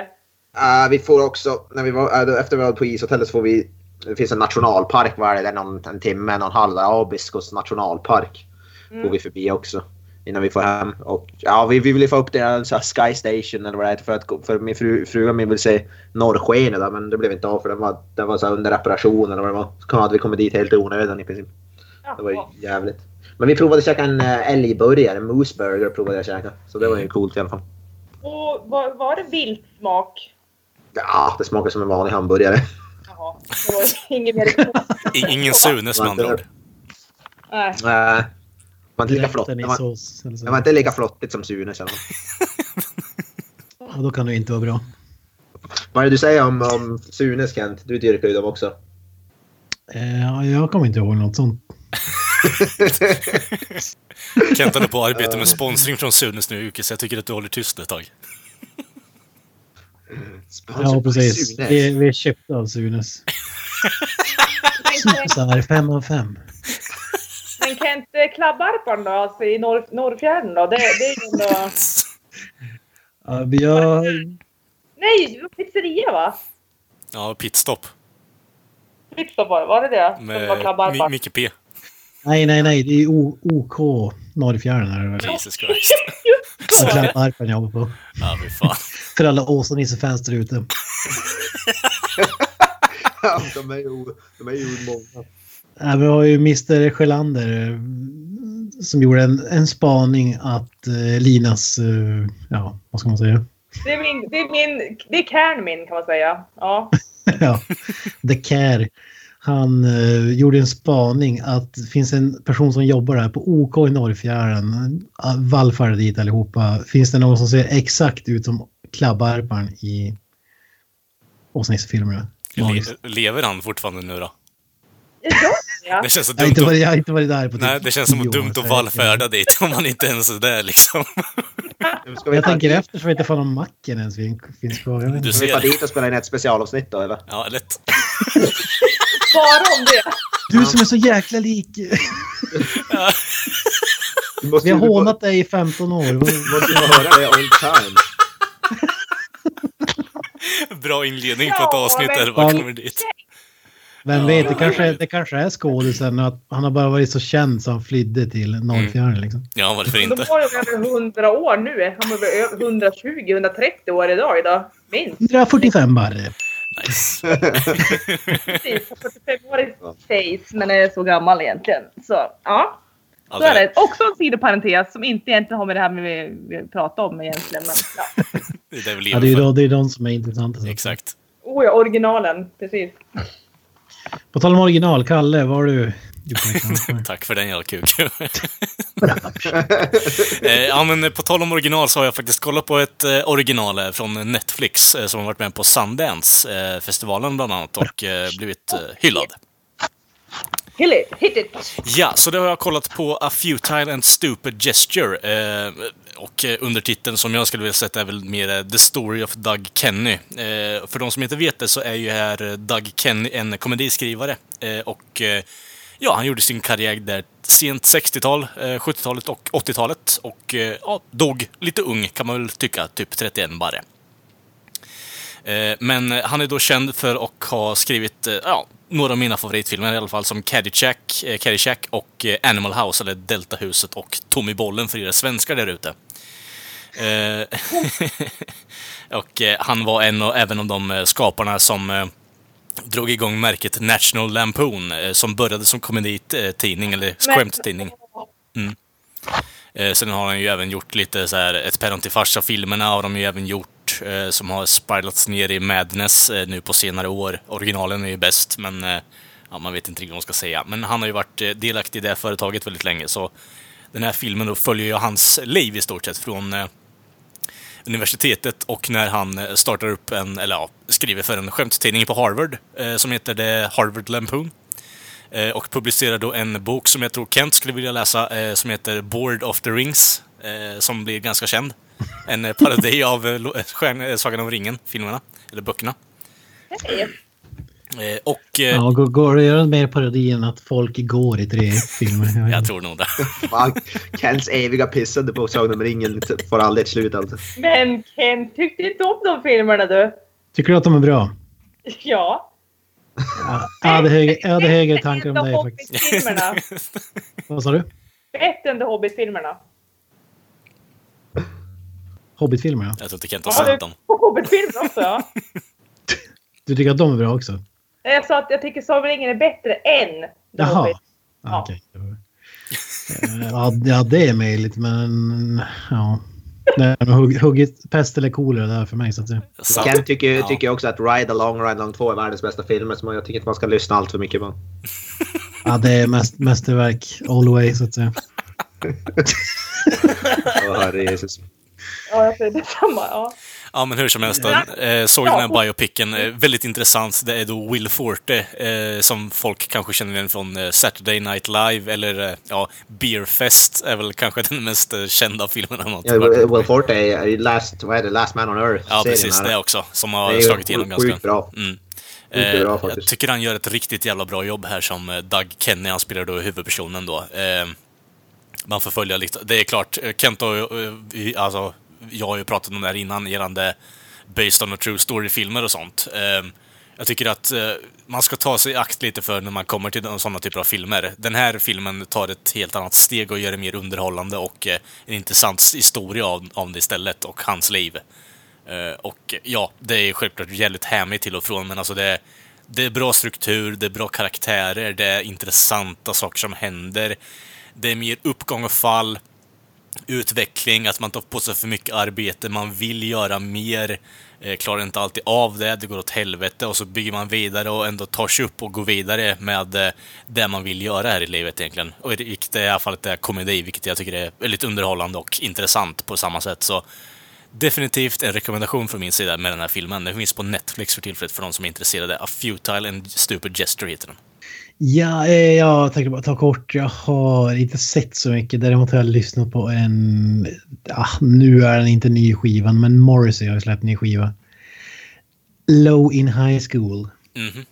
Speaker 3: Eh, vi får också, när vi var, eh, efter vi var på ishotellet så får vi, det finns en nationalpark var det är någon, en timme, någon halv, där, Abiskos nationalpark. Går vi förbi också innan vi får hem. Och, ja, vi, vi vill ju få upp det här, så här Sky Station eller vad det heter för, att, gå- för min fru, fruga min vill se norrskenet där men det blev inte av för den var, den var så här under reparation eller vad det var. Så kom- hade vi kommit dit helt i onödan i princip. Det var ju
Speaker 5: Jaha.
Speaker 3: jävligt. Men vi provade att käka en eh, älgburgare, en mooseburger provade jag att käka. Så det var ju coolt i alla fall.
Speaker 5: Och var, var det viltsmak?
Speaker 3: Ja, det smakade som en vanlig hamburgare.
Speaker 5: Jaha. Det var inget mer.
Speaker 2: I- Ingen Sunes med andra ord.
Speaker 5: Nej.
Speaker 3: Nej. Det var inte lika flott.
Speaker 4: Rätten
Speaker 3: Det
Speaker 4: i
Speaker 3: var,
Speaker 4: sås eller så.
Speaker 3: det var inte lika flottigt som Sunes. eller nåt.
Speaker 4: Ja, då kan det ju inte vara bra.
Speaker 3: Vad är det du säger om, om Sunes Kent? Du dyrkar ju dem också.
Speaker 4: Eh, ja, jag kommer inte ihåg något sånt.
Speaker 2: Kent håller på att arbeta med sponsring från Sunes nu Uke, så jag tycker att du håller tyst ett tag.
Speaker 3: Alltså,
Speaker 4: Ja, precis. Vi, vi är köpta av Sunes. Så här, fem av fem.
Speaker 5: Men Kent, eh, klabbarparn då? Alltså i norr, Norrfjärden då? Det, det är ju ändå...
Speaker 4: Ja, vi har...
Speaker 5: Nej, det var pizzeria va?
Speaker 2: Ja, pitstop
Speaker 5: Pizza var det, var det det? Som var
Speaker 2: med Mi-
Speaker 5: klabbarparn.
Speaker 2: Micke P.
Speaker 4: Nej, nej, nej. Det är O- OK Norrfjärden. här, eller?
Speaker 2: Jesus Christ.
Speaker 4: Ja, Klapparpen jag jobbar på.
Speaker 2: Ja, fy fan.
Speaker 4: För alla Åsa-Nisse-fans där ute.
Speaker 3: de är ju, de är ju många.
Speaker 4: Ja, Äh, vi har ju Mr. Sjölander eh, som gjorde en, en spaning att eh, Linas, eh, ja vad ska man säga?
Speaker 5: Det är min, det är min, det är kärn min kan man säga. Ja.
Speaker 4: ja, The Care. Han eh, gjorde en spaning att det finns en person som jobbar där på OK i Norrfjärden. eh, Vallfärdar dit allihopa. Finns det någon som ser exakt ut som Klabbarpan i Åsa-Nisse-filmerna? Magiskt.
Speaker 2: Le- Lever han fortfarande nu då?
Speaker 5: Är det så? Ja.
Speaker 2: Det känns så
Speaker 4: Jag har
Speaker 2: dumt
Speaker 4: inte
Speaker 2: att...
Speaker 4: varit, jag har inte varit där på typ
Speaker 2: Nej, det känns som
Speaker 4: tio år,
Speaker 2: dumt
Speaker 4: så
Speaker 2: att
Speaker 4: jag vet
Speaker 2: vallfärda
Speaker 4: inte.
Speaker 2: dit om man inte ens är där liksom.
Speaker 3: Ska vi,
Speaker 4: Jag
Speaker 3: ta,
Speaker 4: tänker efter så vet jag fan om macken ens fin- finns kvar. Jag vet inte.
Speaker 2: Du
Speaker 3: ska vi ta
Speaker 2: ser.
Speaker 3: dit och spela in ett specialavsnitt då eller?
Speaker 2: Ja, lätt.
Speaker 5: Bara om det.
Speaker 4: Du som är så jäkla lik.
Speaker 3: Vi måste,
Speaker 4: Vi har
Speaker 3: ju-
Speaker 4: hånat dig i 15 år. Vad-
Speaker 3: Vi måste ju höra det all time.
Speaker 2: Bra inledning på ett
Speaker 5: Ja,
Speaker 2: avsnitt
Speaker 5: men-
Speaker 2: där. Vad kommer dit?
Speaker 4: Vem vet, det kanske, det kanske är skådisen och att han har bara varit så känd så han flydde
Speaker 2: Mm.
Speaker 4: till Norrfjärden. Liksom.
Speaker 2: Ja, varför
Speaker 5: De
Speaker 2: inte?
Speaker 5: var ju över 100 år nu. Han var väl 120-130 år idag, idag. Minst.
Speaker 4: 145 barre.
Speaker 2: Nice.
Speaker 5: Precis. 45 år i face, men är så gammal egentligen. Så ja, så
Speaker 2: Alltså,
Speaker 5: är det. Också en sidoparentes som inte egentligen har med det här med vi pratar om egentligen. Men, ja.
Speaker 2: det är det vi
Speaker 4: Ja,
Speaker 2: lever
Speaker 4: det är ju
Speaker 2: för.
Speaker 4: då- det är de som är intressanta. så.
Speaker 2: Exakt.
Speaker 5: Oh ja, originalen. Precis.
Speaker 4: På tal om original, Kalle, vad har du gjort? den här veckan?
Speaker 2: Tack för den jävla kuk. Eh, ja, men eh, på tal om original så har jag faktiskt kollat på ett eh, original eh, från Netflix eh, som har varit med på Sundance-festivalen bland annat och eh, blivit eh, hyllad.
Speaker 5: Hit it, hit it.
Speaker 2: Ja, så det har jag kollat på A Futile and Stupid Gesture. Eh, och eh, undertiteln som jag skulle vilja sätta är väl mer eh, The Story of Doug Kenny. Eh, för de som inte vet det så är ju här eh, Doug Kenny en komediskrivare. Eh, och eh, ja, han gjorde sin karriär där sent 60-tal, eh, 70-talet och 80-talet. Och eh, ja, dog lite ung kan man väl tycka, typ 31 bara. Eh, Men eh, han är då känd för att ha skrivit eh, ja, några av mina favoritfilmer i alla fall, som Caddyshack, eh, Caddyshack och eh, Animal House, eller Deltahuset och Tommy Bollen för era svenskar där ute. Eh, och eh, han var en och även av de eh, skaparna som eh, drog igång märket National Lampoon, eh, som började som komeditidning, eller skämttidning. Eh, sen har han ju även gjort lite så här, ett päron till farsa-filmerna har de ju även gjort, eh, som har spiralats ner i Madness eh, nu på senare år. Originalen är ju bäst, men eh, ja, man vet inte riktigt vad man ska säga. Men han har ju varit eh, delaktig i det här företaget väldigt länge, så den här filmen då följer ju hans liv i stort sett från eh, universitetet och när han eh, startar upp en, eller ja, skriver för en skämttidning på Harvard eh, som heter The Harvard Lampoon. Eh, och publicerar då en bok som jag tror Kent skulle vilja läsa eh, som heter Board of the Rings eh, som blir ganska känd. En eh, parodi av eh, lo- eh, Stjärn- eh, Sagan om ringen, filmerna, eller böckerna.
Speaker 5: Hej.
Speaker 2: Eh, och eh,
Speaker 4: Ja, går, går det att göra mer parodi än att folk går i tre filmer? Jag vet
Speaker 2: jag
Speaker 4: inte.
Speaker 2: tror nog det.
Speaker 3: Fan, Kents eviga pissande på Sagan om ringen får aldrig ett slut. Alltså.
Speaker 5: Men Ken tyckte inte om de filmerna du.
Speaker 4: Tycker du att de är bra?
Speaker 5: Ja.
Speaker 4: Ja, jag hade högre, jag hade högre tankar om
Speaker 5: Bättre
Speaker 4: dig
Speaker 5: än
Speaker 4: faktiskt.
Speaker 5: Hobbit-filmerna.
Speaker 4: Vad sa du?
Speaker 5: Bättre än The Hobbit-filmerna.
Speaker 4: Hobbit-filmer, ja.
Speaker 2: jag tror inte Kent har
Speaker 5: Ja,
Speaker 2: sett
Speaker 5: det-
Speaker 2: dem.
Speaker 5: Och Hobbit-filmerna också. ja.
Speaker 4: Du tycker att de är bra också?
Speaker 5: Nej, Jag sa att jag tycker Sagan om ringen är bättre än The
Speaker 4: Jaha.
Speaker 5: Hobbit.
Speaker 4: Ja, okej. Eh, Ja, det- ja, det är möjligt, men ja. Det är nog hugg- huggit pest eller kolera där för mig. Så att säga.
Speaker 2: Sant.
Speaker 3: Kent tycker,
Speaker 2: Ja.
Speaker 3: tycker också att Ride Along, Ride Along 2 är världens bästa filmer, så jag tycker inte man ska lyssna allt för mycket på honom.
Speaker 4: Ja, det är mäst, mästerverk all the way, så att säga.
Speaker 3: Åh, herre Jesus.
Speaker 5: Ja, jag säger detsamma. Ja.
Speaker 2: Ja, men hur som helst. den, Eh, såg den här biopicken. Eh, väldigt intressant. Det är då Will Forte, eh, som folk kanske känner igen från eh, Saturday Night Live eller eh, ja, Beerfest är väl kanske den mest eh, kända filmen. av något.
Speaker 3: Ja, Will Will Forte är ju last, vad är det, last Man on Earth.
Speaker 2: ja, precis.
Speaker 3: serien här.
Speaker 2: Det också, som
Speaker 3: Det
Speaker 2: har
Speaker 3: är ju
Speaker 2: slagit igenom
Speaker 3: sjukt
Speaker 2: ganska.
Speaker 3: bra.
Speaker 2: Mm.
Speaker 3: Sjukt bra,
Speaker 2: Eh, jag
Speaker 3: faktiskt.
Speaker 2: tycker han gör ett riktigt jävla bra jobb här som eh, Doug Kenny, han spelar då huvudpersonen då. Eh, man får följa lite, det är klart, eh, Kent och eh, vi- alltså, jag har ju pratat om det här innan gällande Based on a true story-filmer och sånt. Eh, jag tycker att eh, man ska ta sig i akt lite för när man kommer till sådana typer av filmer. Den här filmen tar ett helt annat steg och gör det mer underhållande och eh, en intressant historia av, av det istället och hans liv. Eh, Och ja, det är självklart jävligt hämmigt till och från, men alltså det, det är bra struktur, det är bra karaktärer, det är intressanta saker som händer. Det är mer uppgång och fall, utveckling, att man tar på sig för mycket arbete, man vill göra mer, eh, klarar inte alltid av det, det går åt helvete och så bygger man vidare och ändå tar sig upp och går vidare med eh, det man vill göra här i livet egentligen. Och i det- vilket i det här fallet är komedi, vilket jag tycker är väldigt underhållande och intressant på samma sätt. Så Definitivt en rekommendation från min sida med den här filmen. Den finns på Netflix för tillfället för de som är intresserade. A Futile and Stupid Gesture heter den.
Speaker 4: Ja, eh, jag tänkte bara ta kort. Jag har inte sett så mycket. Däremot har jag lyssnat på en... Ja, nu är den inte ny i skivan, men Morrissey har ju släppt ny skiva. Low in high school.
Speaker 2: Mhm.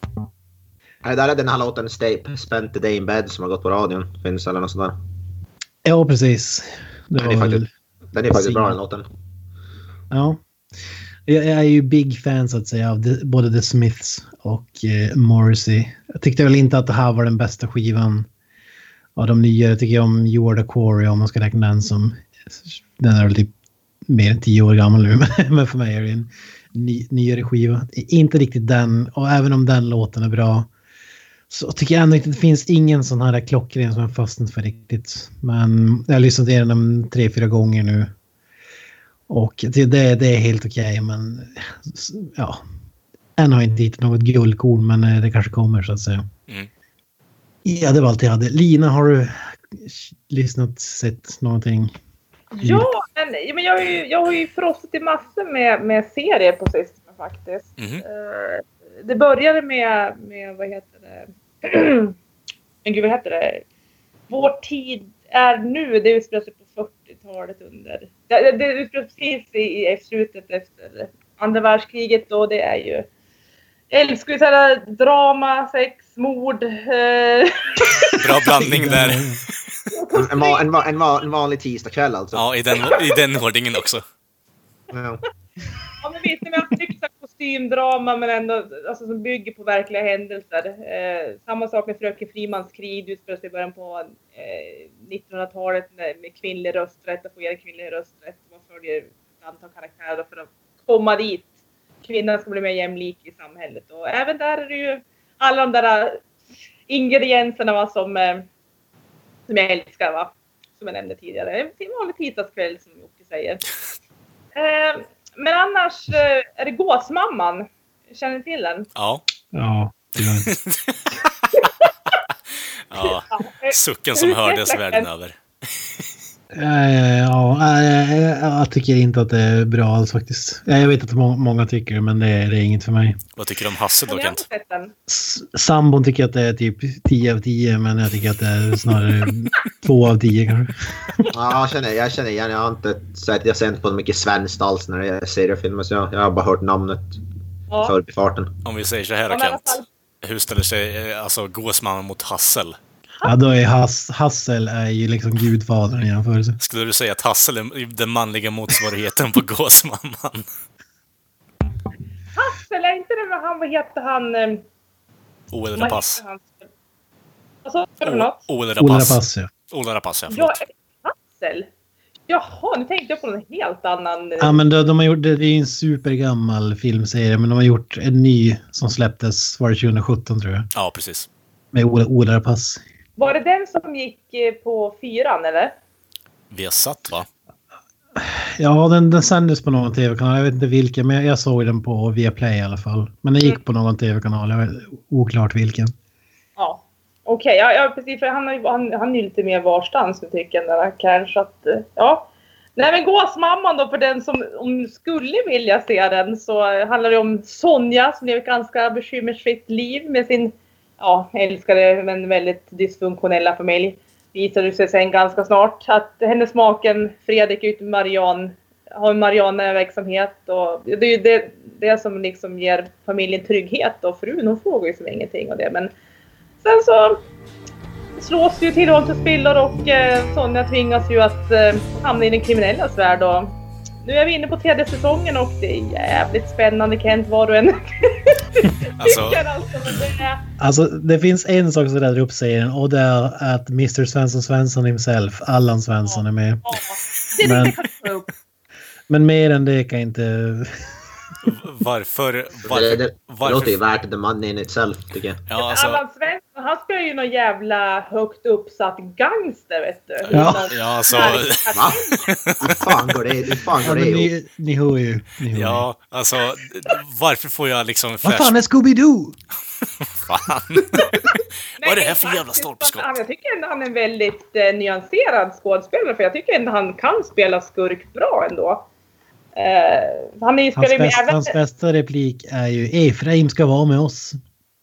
Speaker 3: Nej, där är den här låten Stape, Spent the Day in Bed, som har gått på radion. Finns eller något sånt där.
Speaker 4: Ja, precis. Det
Speaker 3: Den är
Speaker 4: var väl...
Speaker 3: faktiskt, den är faktiskt bra den låten.
Speaker 4: Ja. Jag, jag är ju big fan så att säga av The- både The Smiths och eh, Morrissey. Jag tyckte väl inte att det här var den bästa skivan av de nya. Jag tycker om You Are The Quarry om man ska räkna den som... Den är väl typ mer än tio år gammal nu, men- men för mig är det en ny, nyare skiva. Inte riktigt den, och även om den låten är bra så tycker jag ändå inte det finns ingen sån här klockren som jag fastnat för riktigt. Men jag har lyssnat igenom den tre, fyra gånger nu. Och det, det, det är helt okej, men ja. Än har jag inte hittat något guldkorn, men eh, det kanske kommer så att säga.
Speaker 2: Mm.
Speaker 4: Ja, det var allt jag hade. Lina, har du lyssnat, sett någonting?
Speaker 5: Ja, men, ja, men jag, har ju, jag har ju frossat i massor med, med serier på sistone faktiskt.
Speaker 2: Mhm.
Speaker 5: Eh, det började med, med vad heter det? men gud, vad heter det? Vår tid är nu. Det utspelar sig på 40-talet under. Det, det, det utspelar sig precis i, i slutet efter andra världskriget och det är ju älskvärdare drama, sex, mord. eh,
Speaker 2: Bra blandning där.
Speaker 3: En, va- en, va- en, va- en vanlig tisdagkväll alltså.
Speaker 2: Ja, i den, i den ordningen också.
Speaker 3: Ja.
Speaker 5: Ja men visst, men jag tycker så här kostymdrama men ändå alltså, som bygger på verkliga händelser. Eh, samma sak med Fröken Frimans krig, det utspelar sig i början på eh, 1900-talet när- med kvinnlig rösträtt, att få ge kvinnlig rösträtt. Man följer ett antal karaktärer för att komma dit. Kvinnan ska bli mer jämlik i samhället och även där är det ju alla de där eh, ingredienserna va, som, eh, som jag älskar va. Som jag nämnde tidigare. En vanlig tisdagskväll som Jocke säger. Eh, men annars eh, är det Gåsmamman. Känner ni till den?
Speaker 2: Ja.
Speaker 4: Ja, tyvärr.
Speaker 2: ja.
Speaker 5: Ja, eh,
Speaker 2: Sucken som hördes världen över.
Speaker 4: Eh, Ja, eh, eh, jag tycker inte att det är bra alls faktiskt. Eh, Jag vet att må- många tycker det, men det är, det är inget för mig.
Speaker 2: Vad tycker du om Hasse
Speaker 5: Har
Speaker 2: då,
Speaker 5: ni
Speaker 2: Kent?
Speaker 5: aldrig sett den?
Speaker 4: S- Sambon tycker att det är typ 10 av 10, men jag tycker att det är snarare 2 av 10 kanske.
Speaker 3: Ja, jag, känner, jag känner igen. Jag har inte sett, jag ser inte på så mycket svenskt alls när jag ser det filmer. Så jag, jag har bara hört namnet i
Speaker 5: Ja.
Speaker 3: förbifarten.
Speaker 2: Om vi säger så här
Speaker 5: Ja,
Speaker 2: då,
Speaker 5: men i alla
Speaker 2: Kent. Hur ställer sig eh, alltså, Gåsmannen mot Hassel?
Speaker 4: Ja, då är Hass, Hassel är ju liksom gudfadern i jämförelse.
Speaker 2: Skulle du säga att Hassel är den manliga motsvarigheten på Gåsmamman?
Speaker 5: Hassel, är inte det vad han, vad hette han? eh,
Speaker 2: Oel
Speaker 5: vad
Speaker 2: Rapace.
Speaker 5: hette han? Vad sa
Speaker 2: Oh.
Speaker 5: du för något?
Speaker 2: Oel
Speaker 4: Ola
Speaker 2: Rapace.
Speaker 4: Rapace, ja.
Speaker 2: Ola Rapace, ja.
Speaker 5: Ja,
Speaker 2: Förlåt.
Speaker 5: Hassel? Jaha, nu tänkte jag på en helt annan. eh,
Speaker 4: ja men de, de har gjort, det är ju en supergammal filmserie, men de har gjort en ny som släpptes, var det 2017 tror jag,
Speaker 2: Ja, precis.
Speaker 4: med Ola, Ola Rapace.
Speaker 5: Var det den som gick eh, på fyran eller?
Speaker 2: Vi har satt, va?
Speaker 4: Ja, den, den sändes på någon tv-kanal. Jag vet inte vilken, men jag såg den på Viaplay i alla fall. Men den gick på någon tv-kanal, jag vet, oklart vilken.
Speaker 5: Ja. Okej, ja, ja precis. För han, har ju- han, han är ju lite mer varstans nu tycker jag, den där Kerr, så att, eh, ja. Nej men Gåsmamman då för den som om skulle vilja se den så eh, handlar det om Sonja som lever ett ganska bekymmersfritt liv med sin ja, älskade men väldigt dysfunktionella familj. Visar det sig sen ganska snart att hennes maken Fredrik är ute med Marianne har en Marianne-verksamhet och det är ju det, det som liksom ger familjen trygghet och frun hon frågar ju som ingenting och det men Sen så slås ju tillvaron till spillror och eh, Sonja tvingas ju att eh, hamna i den kriminellas värld. Och nu är vi inne på tredje säsongen och det är jävligt spännande Kent, vad du än
Speaker 2: Alltså,
Speaker 5: tycker. Alltså, men det är,
Speaker 4: Alltså, det finns en sak som räddar upp serien och det är att Mr. Svensson Svensson himself, Allan Svensson, är med.
Speaker 5: ja, det är det
Speaker 4: Men-
Speaker 5: jag kan ta upp.
Speaker 4: Men mer än det kan jag inte...
Speaker 2: varför...
Speaker 3: Det, det,
Speaker 2: Varför?
Speaker 3: det låter ju
Speaker 2: varför
Speaker 3: värt the money in itself tycker jag.
Speaker 2: ja, alltså,
Speaker 5: Allan Svensson, han spelar ju någon jävla högt uppsatt gangster vet du.
Speaker 4: Ja.
Speaker 5: Någon-
Speaker 2: ja, alltså...
Speaker 3: Va? Hur fan går det, hur fan
Speaker 4: Ja,
Speaker 3: går
Speaker 4: men
Speaker 3: det ihop?
Speaker 4: ni, ni hör ju. Ni hör ju.
Speaker 2: Ja, alltså... d- Varför får jag liksom
Speaker 4: Vad
Speaker 2: flash...
Speaker 4: fan är Scooby-Doo?
Speaker 2: Fan!
Speaker 5: Nej,
Speaker 2: Vad är det här för
Speaker 5: faktiskt,
Speaker 2: jävla stolpskott?
Speaker 5: han- Jag tycker ändå han är en väldigt eh, nyanserad skådespelare för jag tycker ändå han kan spela skurk bra ändå. Eh, han är ju
Speaker 4: Hans,
Speaker 5: spelar med
Speaker 4: bäst,
Speaker 5: även...
Speaker 4: hans bästa replik är ju Efraim ska vara med oss.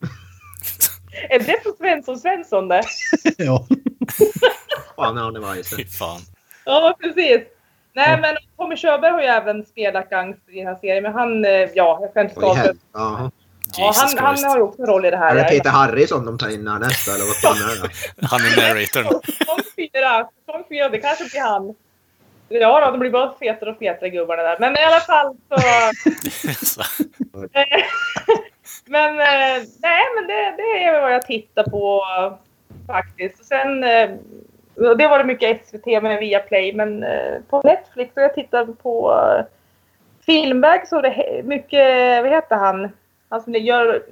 Speaker 5: Är det från Svensson Svensson det?
Speaker 4: ja.
Speaker 3: Fan, ja, det var ju så.
Speaker 2: Fy fan.
Speaker 5: Ja, precis. Nej, men Tommy Körberg har ju även spelat gangster i den här serien. Men han, eh, ja, jag kan inte
Speaker 3: Oj,
Speaker 5: stå
Speaker 3: hel- Jaha.
Speaker 5: ja,
Speaker 2: Jesus
Speaker 5: han, han
Speaker 2: Christ.
Speaker 5: har ju också en roll i det här.
Speaker 3: Är det
Speaker 5: Jag
Speaker 3: Peter Harrison de tar in härnäst eller vad fan är det?
Speaker 2: Han är narratorn.
Speaker 5: Säsong fyra, säsong fyra, det kanske blir han. Ja då, de blir bara fetare och fetare gubbarna där. Men i alla fall så...
Speaker 2: Så,
Speaker 5: Eh, men eh, nej, men det, det är vad jag tittar på eh, faktiskt. Och sen, eh, det var det mycket SVT med via Play men eh, på Netflix och jag tittar på eh, Filmberg så är det he- mycket, vad heter han? Han som gör,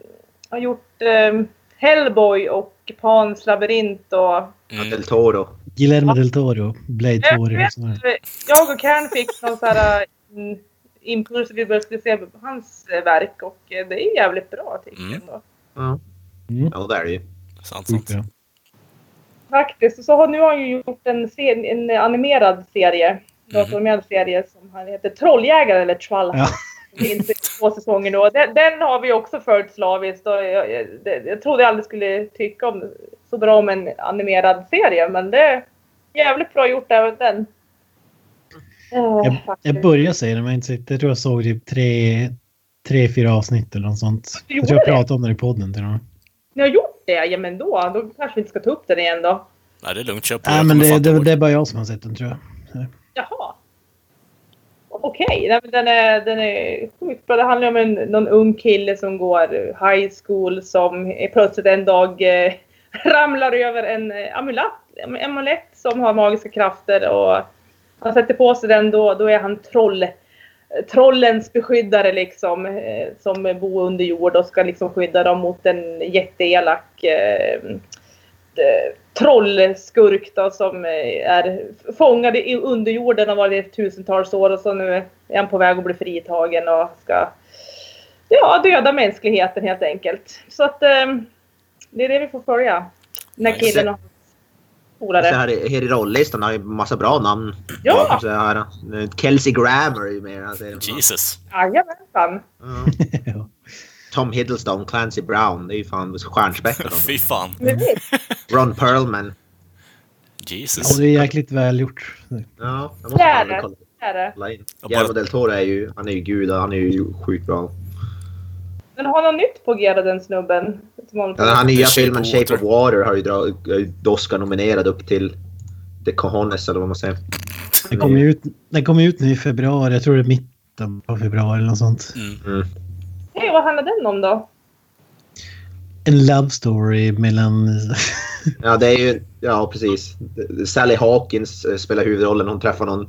Speaker 5: har gjort eh, Hellboy och Pans labyrint och
Speaker 2: mm.
Speaker 3: Del Toro.
Speaker 4: Guillermo del Toro, Blade
Speaker 5: jag,
Speaker 4: Toro.
Speaker 5: vet,
Speaker 4: och sådär.
Speaker 5: jag och Kern fick någon sån här mm, impuls vi började se hans eh, verk och eh, det är jävligt bra tycker
Speaker 2: Mm.
Speaker 5: jag. ändå.
Speaker 3: Ja, det är det ju.
Speaker 2: Sant, sant.
Speaker 4: Ja.
Speaker 5: Faktiskt. Och så har, nu har han ju gjort en, ser, en animerad serie. Datoranimerad serie som han heter Trolljägare eller Trollhunt.
Speaker 4: Mhm. Ja.
Speaker 5: Det finns i två säsonger nu. Och Den, den har vi också följt slaviskt. Och jag, jag, det, jag trodde jag aldrig skulle tycka om så bra om en animerad serie. Men det är jävligt bra gjort även den. Eh,
Speaker 4: Jag,
Speaker 5: faktiskt.
Speaker 4: jag började säga det, men jag inte sett- jag tror jag såg typ tre, tre fyra avsnitt eller något sånt.
Speaker 5: Du
Speaker 4: Jag tror jag
Speaker 5: gjorde det?
Speaker 4: pratade om det i podden till och med.
Speaker 5: Ni har gjort det? Ja men då, då kanske vi inte ska ta upp den igen då.
Speaker 2: Nej, det är lugnt. Kör på.
Speaker 4: Nej,
Speaker 2: Jag
Speaker 4: men
Speaker 2: kommer
Speaker 4: det,
Speaker 2: fatta
Speaker 4: det,
Speaker 2: vårt-
Speaker 4: det är bara jag som har sett den tror jag.
Speaker 5: Jaha. Okej, nej, men den är, den är sjukt bra. Det handlar om en, någon ung kille som går high school som är plötsligt en dag eh, ramlar över en eh, amulett, en amulett som har magiska krafter och han sätter på sig den då, då är han troll. Trollens beskyddare liksom eh, som bor under jord och ska liksom skydda dem mot en jätteelak eh, eh, trollskurk då, som eh, är fångad i underjorden och har varit i tusentals år och så nu är han på väg att bli fritagen och ska ja, döda mänskligheten helt enkelt. Så att eh, det är det vi får följa. Den här
Speaker 2: Nice.
Speaker 5: killen och hans
Speaker 3: Så
Speaker 5: polare.
Speaker 3: här, i- här i rolllistan har ju massa bra namn.
Speaker 5: Ja!
Speaker 3: Så här, eh, Kelsey Grammer är ju med i den här serien.
Speaker 2: Jesus.
Speaker 5: Jajamensan!
Speaker 3: Ja.
Speaker 4: ja.
Speaker 3: Tom Hiddleston, Clancy Brown. Det är ju fan stjärnspäckat.
Speaker 2: Fy fan.
Speaker 5: Precis.
Speaker 3: Ron Perlman.
Speaker 4: Ja,
Speaker 2: Jesus.
Speaker 4: det är jäkligt väl gjort.
Speaker 3: Ja, jag
Speaker 5: Det
Speaker 3: måste
Speaker 5: är
Speaker 3: kolla-
Speaker 5: Det är det.
Speaker 3: kolla in.
Speaker 2: Jag bara-
Speaker 3: Guillermo del Toro är ju, han är ju gud och han är ju sjukt bra.
Speaker 5: Men har något nytt på G då, den snubben? Som håller på-
Speaker 3: Ja, Den här
Speaker 2: The
Speaker 3: nya
Speaker 2: Shape
Speaker 3: filmen
Speaker 2: of
Speaker 3: Shape of
Speaker 2: Water.
Speaker 3: Water har ju drag- är ju Oscar-nominerad upp till The Cojones eller vad man säger.
Speaker 4: Den kom ju ut, den kom ju ut nu i februari, jag tror det är mitten på februari eller något sånt.
Speaker 5: Hej, vad handlar den om då?
Speaker 4: En love story mellan...
Speaker 3: Ja, det är ju, ja precis. Sally Hawkins eh, spelar huvudrollen. Hon träffar någon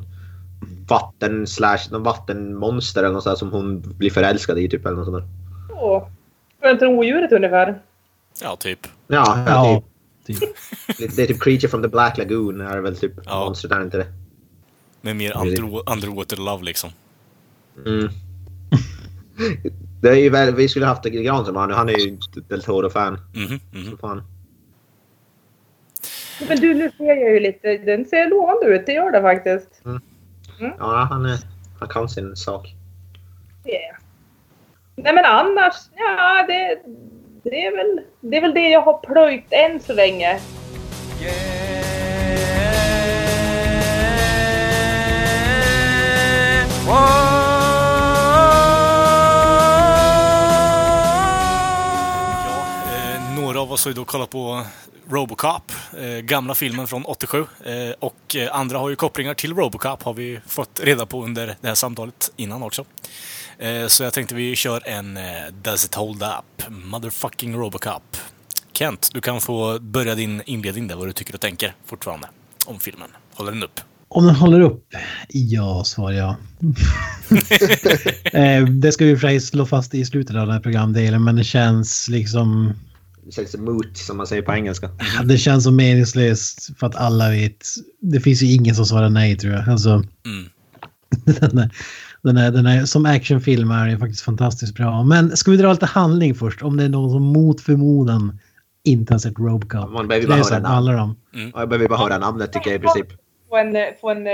Speaker 3: vatten slash, någon vattenmonster eller något sånt där som hon blir förälskad i typ eller något sånt där.
Speaker 5: Åh, Skönt om odjuret ungefär.
Speaker 2: Ja, typ.
Speaker 3: Ja,
Speaker 4: ja,
Speaker 3: ja.
Speaker 4: typ.
Speaker 3: Typ, det är typ Creature from the Black Lagoon är väl typ
Speaker 2: Ja.
Speaker 3: monstret är inte det?
Speaker 2: Med mer under, underwater love liksom.
Speaker 3: Mm. det är ju väl, vi skulle haft Gran som han nu. Han är ju Del Toro-fan.
Speaker 2: Mhm, mhm.
Speaker 3: Så fan.
Speaker 5: Men du, nu ser jag ju lite. Den ser lovande ut, det gör den faktiskt.
Speaker 3: Mm. Ja, han, är, han kan sin sak.
Speaker 5: Yeah. Nej men annars, ja det, det, är väl, det är väl det jag har plöjt än så länge.
Speaker 7: Yeah. Whoa.
Speaker 2: Ja, eh, några av oss har ju då kollat på Robocop, eh, gamla filmen från 87. Eh, och eh, andra har ju kopplingar till Robocop, har vi fått reda på under det här samtalet innan också. Eh, så jag tänkte vi kör en eh, Does it hold up? Motherfucking Robocop. Kent, du kan få börja din inledning där, vad du tycker och tänker fortfarande om filmen. Håller den upp?
Speaker 4: Om den håller upp? Ja, svarar jag. Eh, det ska vi i och för sig slå fast i slutet av den här programdelen, men det känns liksom...
Speaker 3: Det känns moot som man säger på engelska.
Speaker 4: Det känns så meningslöst för att alla vet. Det finns ju ingen som svarar nej tror jag. Alltså,
Speaker 2: Mm.
Speaker 4: den, är, den, är, den är, som actionfilm är den faktiskt fantastiskt bra. Men ska vi dra lite handling först? Om det är någon som mot förmodan inte har sett Robocop.
Speaker 3: Man behöver
Speaker 4: Det
Speaker 3: bara
Speaker 4: är
Speaker 3: höra
Speaker 4: så att
Speaker 3: namn.
Speaker 4: alla de.
Speaker 3: Ja, Jag behöver bara höra namnet tycker jag i princip.
Speaker 5: Få en, eh, få en eh,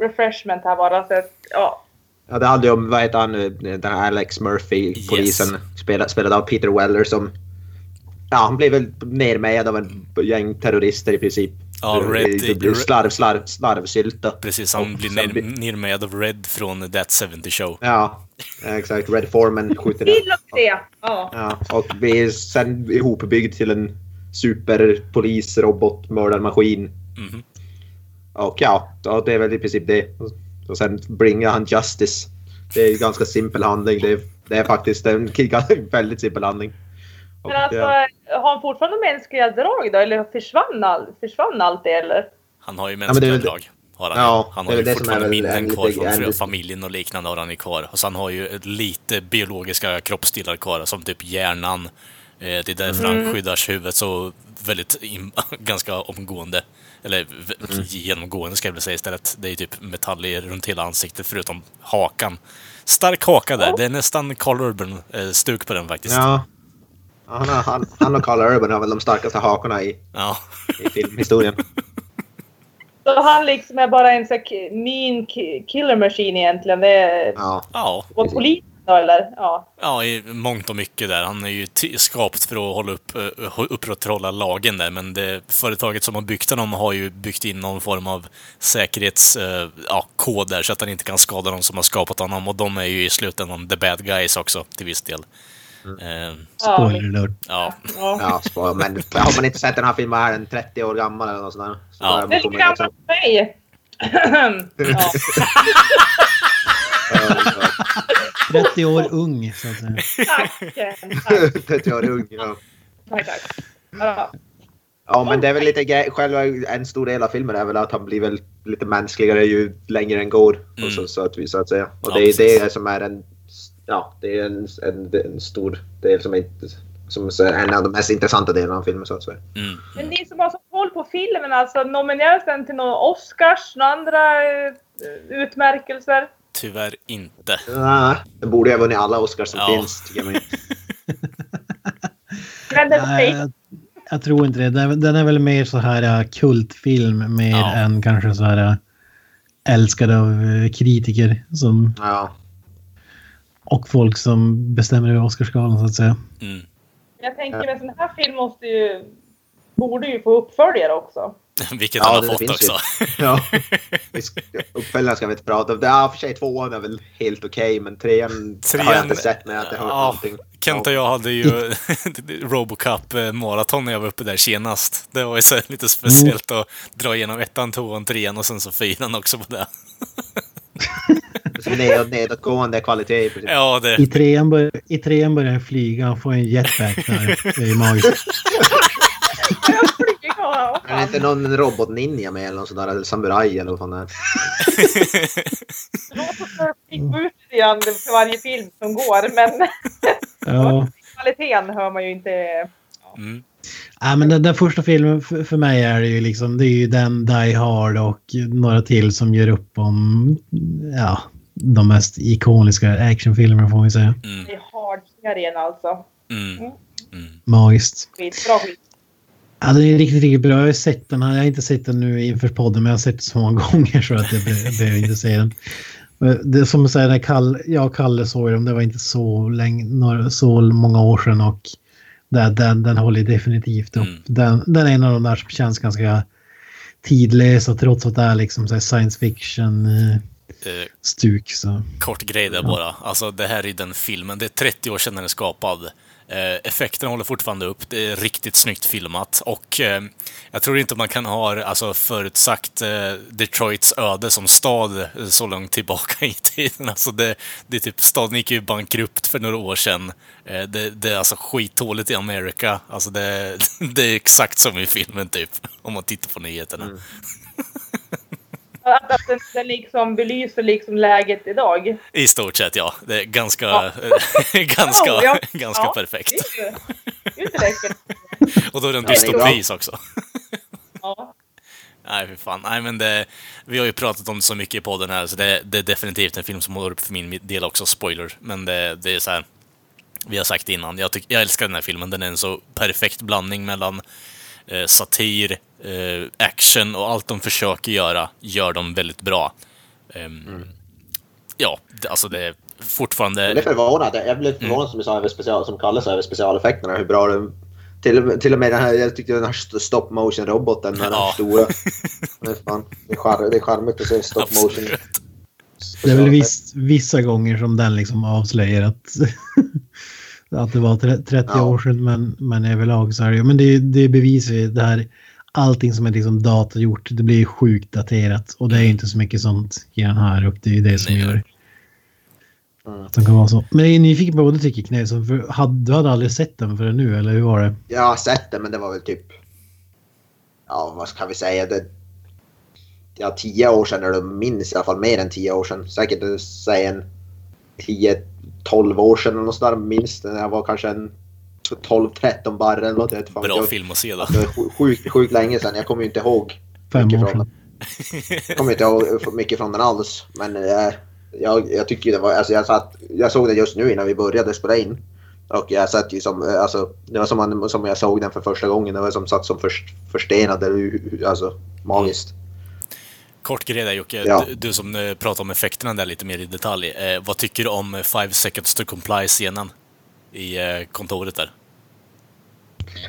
Speaker 5: refreshment här bara. Så att, ja.
Speaker 3: Ja, det handlar ju om, vad heter han nu, den här Alex Murphy,
Speaker 2: Yes.
Speaker 3: polisen, spelad, spelad av Peter Weller som... Ja, han blev väl nermejad av en gäng terrorister i princip.
Speaker 2: Ja,
Speaker 3: Det-
Speaker 2: Red-
Speaker 3: det blir slarv, slarv, slarvsylta.
Speaker 2: Precis, han blir
Speaker 3: sen blir-
Speaker 2: ner, nermejad av Red från That 70 Show.
Speaker 3: Ja, exakt. Red Foreman skjuter den.
Speaker 5: Till och det! Ja.
Speaker 3: Ja, och blir sen ihopbyggd till en superpolis, robot, mördarmaskin.
Speaker 2: Mhm.
Speaker 3: Och ja, då- det är väl i princip det. Och sen bringar han justice. Det är en ganska simpel handling. Det är, det är faktiskt en en väldigt simpel handling. Och,
Speaker 5: Men alltså,
Speaker 3: ja.
Speaker 5: har han fortfarande mänskliga drag då? Eller försvann, all, försvann allt det eller?
Speaker 2: Han har ju
Speaker 3: men det är
Speaker 2: mänskliga
Speaker 3: väl-
Speaker 2: drag. Har han,
Speaker 3: Ja,
Speaker 2: han
Speaker 3: det
Speaker 2: har
Speaker 3: är
Speaker 2: ju
Speaker 3: väl det som
Speaker 2: fortfarande
Speaker 3: är väl en
Speaker 2: minnen kvar
Speaker 3: lite-
Speaker 2: från
Speaker 3: en
Speaker 2: fru-
Speaker 3: lite-
Speaker 2: familjen och liknande har han ju kvar. Och sen har ju ett lite biologiska kroppsdelar kvar, som typ hjärnan. Eh, Det är därför han skyddar huvudet så väldigt, im- ganska omgående. Eller v-
Speaker 3: Mm.
Speaker 2: genomgående ska jag väl säga istället. Det är typ metall i- runt hela ansiktet förutom hakan. Stark haka där. Det är nästan Carl Urban-stuk på den faktiskt.
Speaker 3: ja. Han, har- han, han och Carl Urban har väl de starkaste hakorna i,
Speaker 2: Ja.
Speaker 3: i filmhistorien.
Speaker 5: Så han liksom är bara en sån här ki- mean ki- killer machine egentligen. Det är
Speaker 3: Ja.
Speaker 2: ja.
Speaker 5: åt polisen då eller? Ja.
Speaker 2: Ja, i mångt och mycket där. Han är ju ty- skapt för att hålla upp, eh, upprätthålla lagen där, men det företaget som har byggt honom har ju byggt in någon form av säkerhetskod ja, kod där så att han inte kan skada de som har skapat honom och de är ju i slutändan the bad guys också till viss del.
Speaker 3: Mm.
Speaker 2: Eh,
Speaker 5: Ja,
Speaker 4: Spoiler alert.
Speaker 2: ja.
Speaker 5: ja.
Speaker 3: Ja, spoil. men har man inte sett den här filmen är den 30 år gammal eller något sånt där. Så
Speaker 2: Ja.
Speaker 3: där
Speaker 5: Det är lika
Speaker 3: kommer jag
Speaker 5: gammalt
Speaker 3: också-
Speaker 5: som mig. ja.
Speaker 4: 30 år ung, så att säga.
Speaker 5: Tack. Tack,
Speaker 3: 30 år ung. Ja.
Speaker 5: tack, tack. Ja.
Speaker 3: ja, men det är väl lite grej. Själva en stor del av filmen är väl att han blir väl lite mänskligare ju längre den går.
Speaker 2: Mm.
Speaker 3: Och så, så, att, vi- så att säga. Och
Speaker 2: Ja,
Speaker 3: det är det
Speaker 2: precis.
Speaker 3: som är en... Ja, det är en, en, en stor del som är inte... Som är en av de mest intressanta delarna av filmen så att säga.
Speaker 2: Mm.
Speaker 5: Men ni som har så koll på filmen, alltså nomineras den till några Oscars, några andra eh, utmärkelser?
Speaker 2: Tyvärr inte.
Speaker 3: Nej, Den borde ju ha vunnit alla Oscars som
Speaker 2: Ja.
Speaker 3: finns. tycker jag.
Speaker 5: Men den
Speaker 4: Nej, jag, jag tror inte det. Den, den är väl mer så här äh, kultfilm mer
Speaker 2: Ja.
Speaker 4: än kanske så här äh, älskad av äh, kritiker som,
Speaker 3: Ja.
Speaker 4: och folk som bestämmer över Oscarsgalan så att säga.
Speaker 2: Mm.
Speaker 5: jag tänker med sån här film måste ju, borde ju få uppföljare också.
Speaker 2: Vilket
Speaker 3: Ja,
Speaker 2: han
Speaker 3: det
Speaker 2: har fått
Speaker 3: finns
Speaker 2: också.
Speaker 3: ju. Ja. Vi ska- Uppföljaren ska vi inte prata om. Det är i och för sig tvåan är väl helt okej, men trean, har jag inte sett när jag inte hört
Speaker 2: ja,
Speaker 3: någonting.
Speaker 2: Kent och
Speaker 3: Ja.
Speaker 2: jag hade ju Robocop eh, maraton när jag var uppe där senast. Det var ju så här lite speciellt att dra igenom ettan, tvåan, trean och sen så fyran också på det.
Speaker 3: Så Ned, nedåtgående kvalitet i princip.
Speaker 2: Ja,
Speaker 4: I
Speaker 2: det...
Speaker 4: trean, bör, I trean börjar han flyga, han får en jetpack där. Det är magiskt.
Speaker 5: Ja,
Speaker 3: Är det inte någon robotninja med eller någon sån där eller samuraj eller vad fan det är?
Speaker 5: Pickbooter är han för varje film som går, men
Speaker 4: Ja.
Speaker 5: kvaliteten hör man ju inte.
Speaker 2: Mm.
Speaker 4: Ja, men den, den första filmen för, för mig är det ju liksom, det är ju den, Die Hard och några till som gör upp om ja, de mest ikoniska actionfilmerna får man ju säga.
Speaker 5: Det är hardserien alltså.
Speaker 2: Mm.
Speaker 4: Magiskt.
Speaker 5: Skitbra skit.
Speaker 4: Ja, den är riktigt, riktigt bra. Jag har ju sett den. här. Jag har inte sett den nu inför podden, men jag har sett den så många gånger så att jag be- jag behöver inte säga den. Men Det är som att säga, när Kalle, jag och Kalle såg dem, det var inte så, länge, några, så många år sedan och den, den, den håller definitivt upp.
Speaker 2: Mm.
Speaker 4: Den, den är en av de där som känns ganska tidlösa trots att det är liksom så här science fiction-stuk.
Speaker 2: Eh,
Speaker 4: Så.
Speaker 2: kort grej där bara. Alltså, det här är ju den filmen. Det är 30 år sedan den är skapad. Eh, effekterna håller fortfarande upp. Det är riktigt snyggt filmat. Och eh, jag tror inte man kan ha alltså, förutsagt eh, Detroits öde som stad eh, så långt tillbaka i tiden. Alltså, det, det är typ, staden gick ju bankrupt för några år sedan. Eh, det, det är alltså skithålet i Amerika. Alltså, det, det är exakt som i filmen, typ. Om man tittar på nyheterna.
Speaker 5: Mm. Att, att den, den liksom belyser liksom läget idag.
Speaker 2: I stort sett, ja. Det är ganska,
Speaker 5: Ja.
Speaker 2: ganska,
Speaker 5: Ja, ja.
Speaker 2: ganska
Speaker 5: Ja.
Speaker 2: perfekt.
Speaker 5: Det är ju- det är ju inte läckert.
Speaker 2: Och då är det en
Speaker 3: Ja, det är bra.
Speaker 2: dystopis också.
Speaker 5: Ja.
Speaker 2: Nej, fy fan. Nej, men det, vi har ju pratat om det så mycket i podden här, så det, det är definitivt en film som håller upp för min del också, spoiler. Men det, det är så här, vi har sagt det innan, jag, tyck, jag älskar den här filmen. Den är en så perfekt blandning mellan eh, satir, eh, action och allt de försöker göra, gör de väldigt bra. Ehm,
Speaker 3: Mm.
Speaker 2: Ja, det, alltså det är
Speaker 3: Jag blev
Speaker 2: fortfarande...
Speaker 3: förvånad. Jag blev
Speaker 2: Mm.
Speaker 3: förvånad som, jag sa, över special, som Kalle sa över specialeffekterna. Hur bra den... Till, och med- till och med den här, jag tyckte den här stop motion-roboten, den här
Speaker 2: Ja.
Speaker 3: stora. Det är, fan, det, är charm, det är charmigt att se stop motion.
Speaker 2: Absolut.
Speaker 4: Det är väl viss, vissa gånger som den liksom avslöjar att, att det var tre- 30
Speaker 3: Ja.
Speaker 4: år sedan men, men överlag så är det ju- Men det, är- det bevisar ju det här allting som är liksom datorgjort, det blir sjukt daterat. Och det är ju inte så mycket sånt i den här och det är ju det som
Speaker 2: Nej. Mm.
Speaker 4: gör att de kan vara så. Men jag är nyfiken på vad du tycker Knässon, för hade, du hade aldrig sett den förrän nu eller hur var det?
Speaker 3: Jag har sett det men det var väl typ... Ja vad ska vi säga? Det, ja, tio år sedan eller minst i alla fall mer än tio år sedan. Säkert eh, säg en 10-12 år sedan eller något sånt där minst. När jag var kanske en 12-13 barre eller något. Jag vet fan,
Speaker 2: Bra
Speaker 3: jag,
Speaker 2: film att se då.
Speaker 3: Det är sj- sjukt, sjukt länge sedan. Jag kommer ju inte ihåg.
Speaker 4: Fem
Speaker 3: mycket
Speaker 4: år
Speaker 3: från
Speaker 4: sedan.
Speaker 3: den. kommer inte ihåg mycket från den alls. Men eh, jag, jag tycker ju det var... Alltså jag, satt, jag såg den just nu innan vi började spela in. Och jag satt ju som... eh, Alltså, det var som, man, som jag såg den för första gången. Det var som satt som först, förstenad. Det var ju, Alltså magiskt.
Speaker 2: Kort grej där Jocke,
Speaker 3: Ja.
Speaker 2: du, du som eh, pratar om effekterna där lite mer i detalj. Eh, vad tycker du om eh, Five seconds to comply-scenen i eh, kontoret där?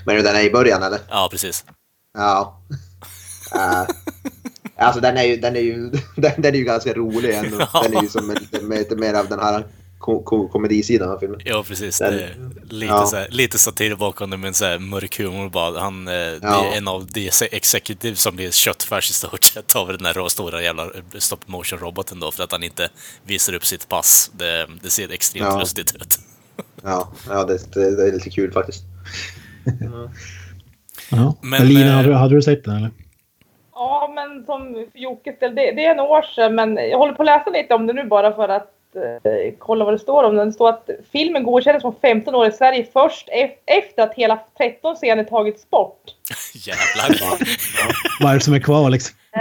Speaker 3: Men den är i början eller?
Speaker 2: Ja, precis.
Speaker 3: Ja. Eh, alltså den är ju, den är ju, den, den är ju ganska rolig ändå. Den är ju som lite, lite mer av den här ko, ko, komedisidan av filmen.
Speaker 2: Ja, precis.
Speaker 3: Den-
Speaker 2: Det är lite,
Speaker 3: ja.
Speaker 2: så här, lite satir bakom det, men så här mörk humor bara. Han, eh, Det
Speaker 3: Ja.
Speaker 2: är en av de se- executive som blir köttfärs i stort sett av den här stora jävla stop motion-roboten då, för att han inte visar upp sitt pass. Det, det ser extremt
Speaker 3: Ja.
Speaker 2: lustigt ut.
Speaker 3: Ja, ja det, det, det är lite kul faktiskt.
Speaker 4: Ja.
Speaker 2: Men,
Speaker 4: Men, Lina,
Speaker 2: eh,
Speaker 4: hade, du- hade du sett den eller?
Speaker 5: Ja, men som Jocke ställde, det, det är en år sedan, men jag håller på att läsa lite om det nu bara för att eh, kolla vad det står om den. Det står att filmen godkändes som 15 år i Sverige först e- efter att hela 13 scener tagits bort.
Speaker 2: Jävlar.
Speaker 4: Vad är det som är kvar liksom?
Speaker 5: Eh,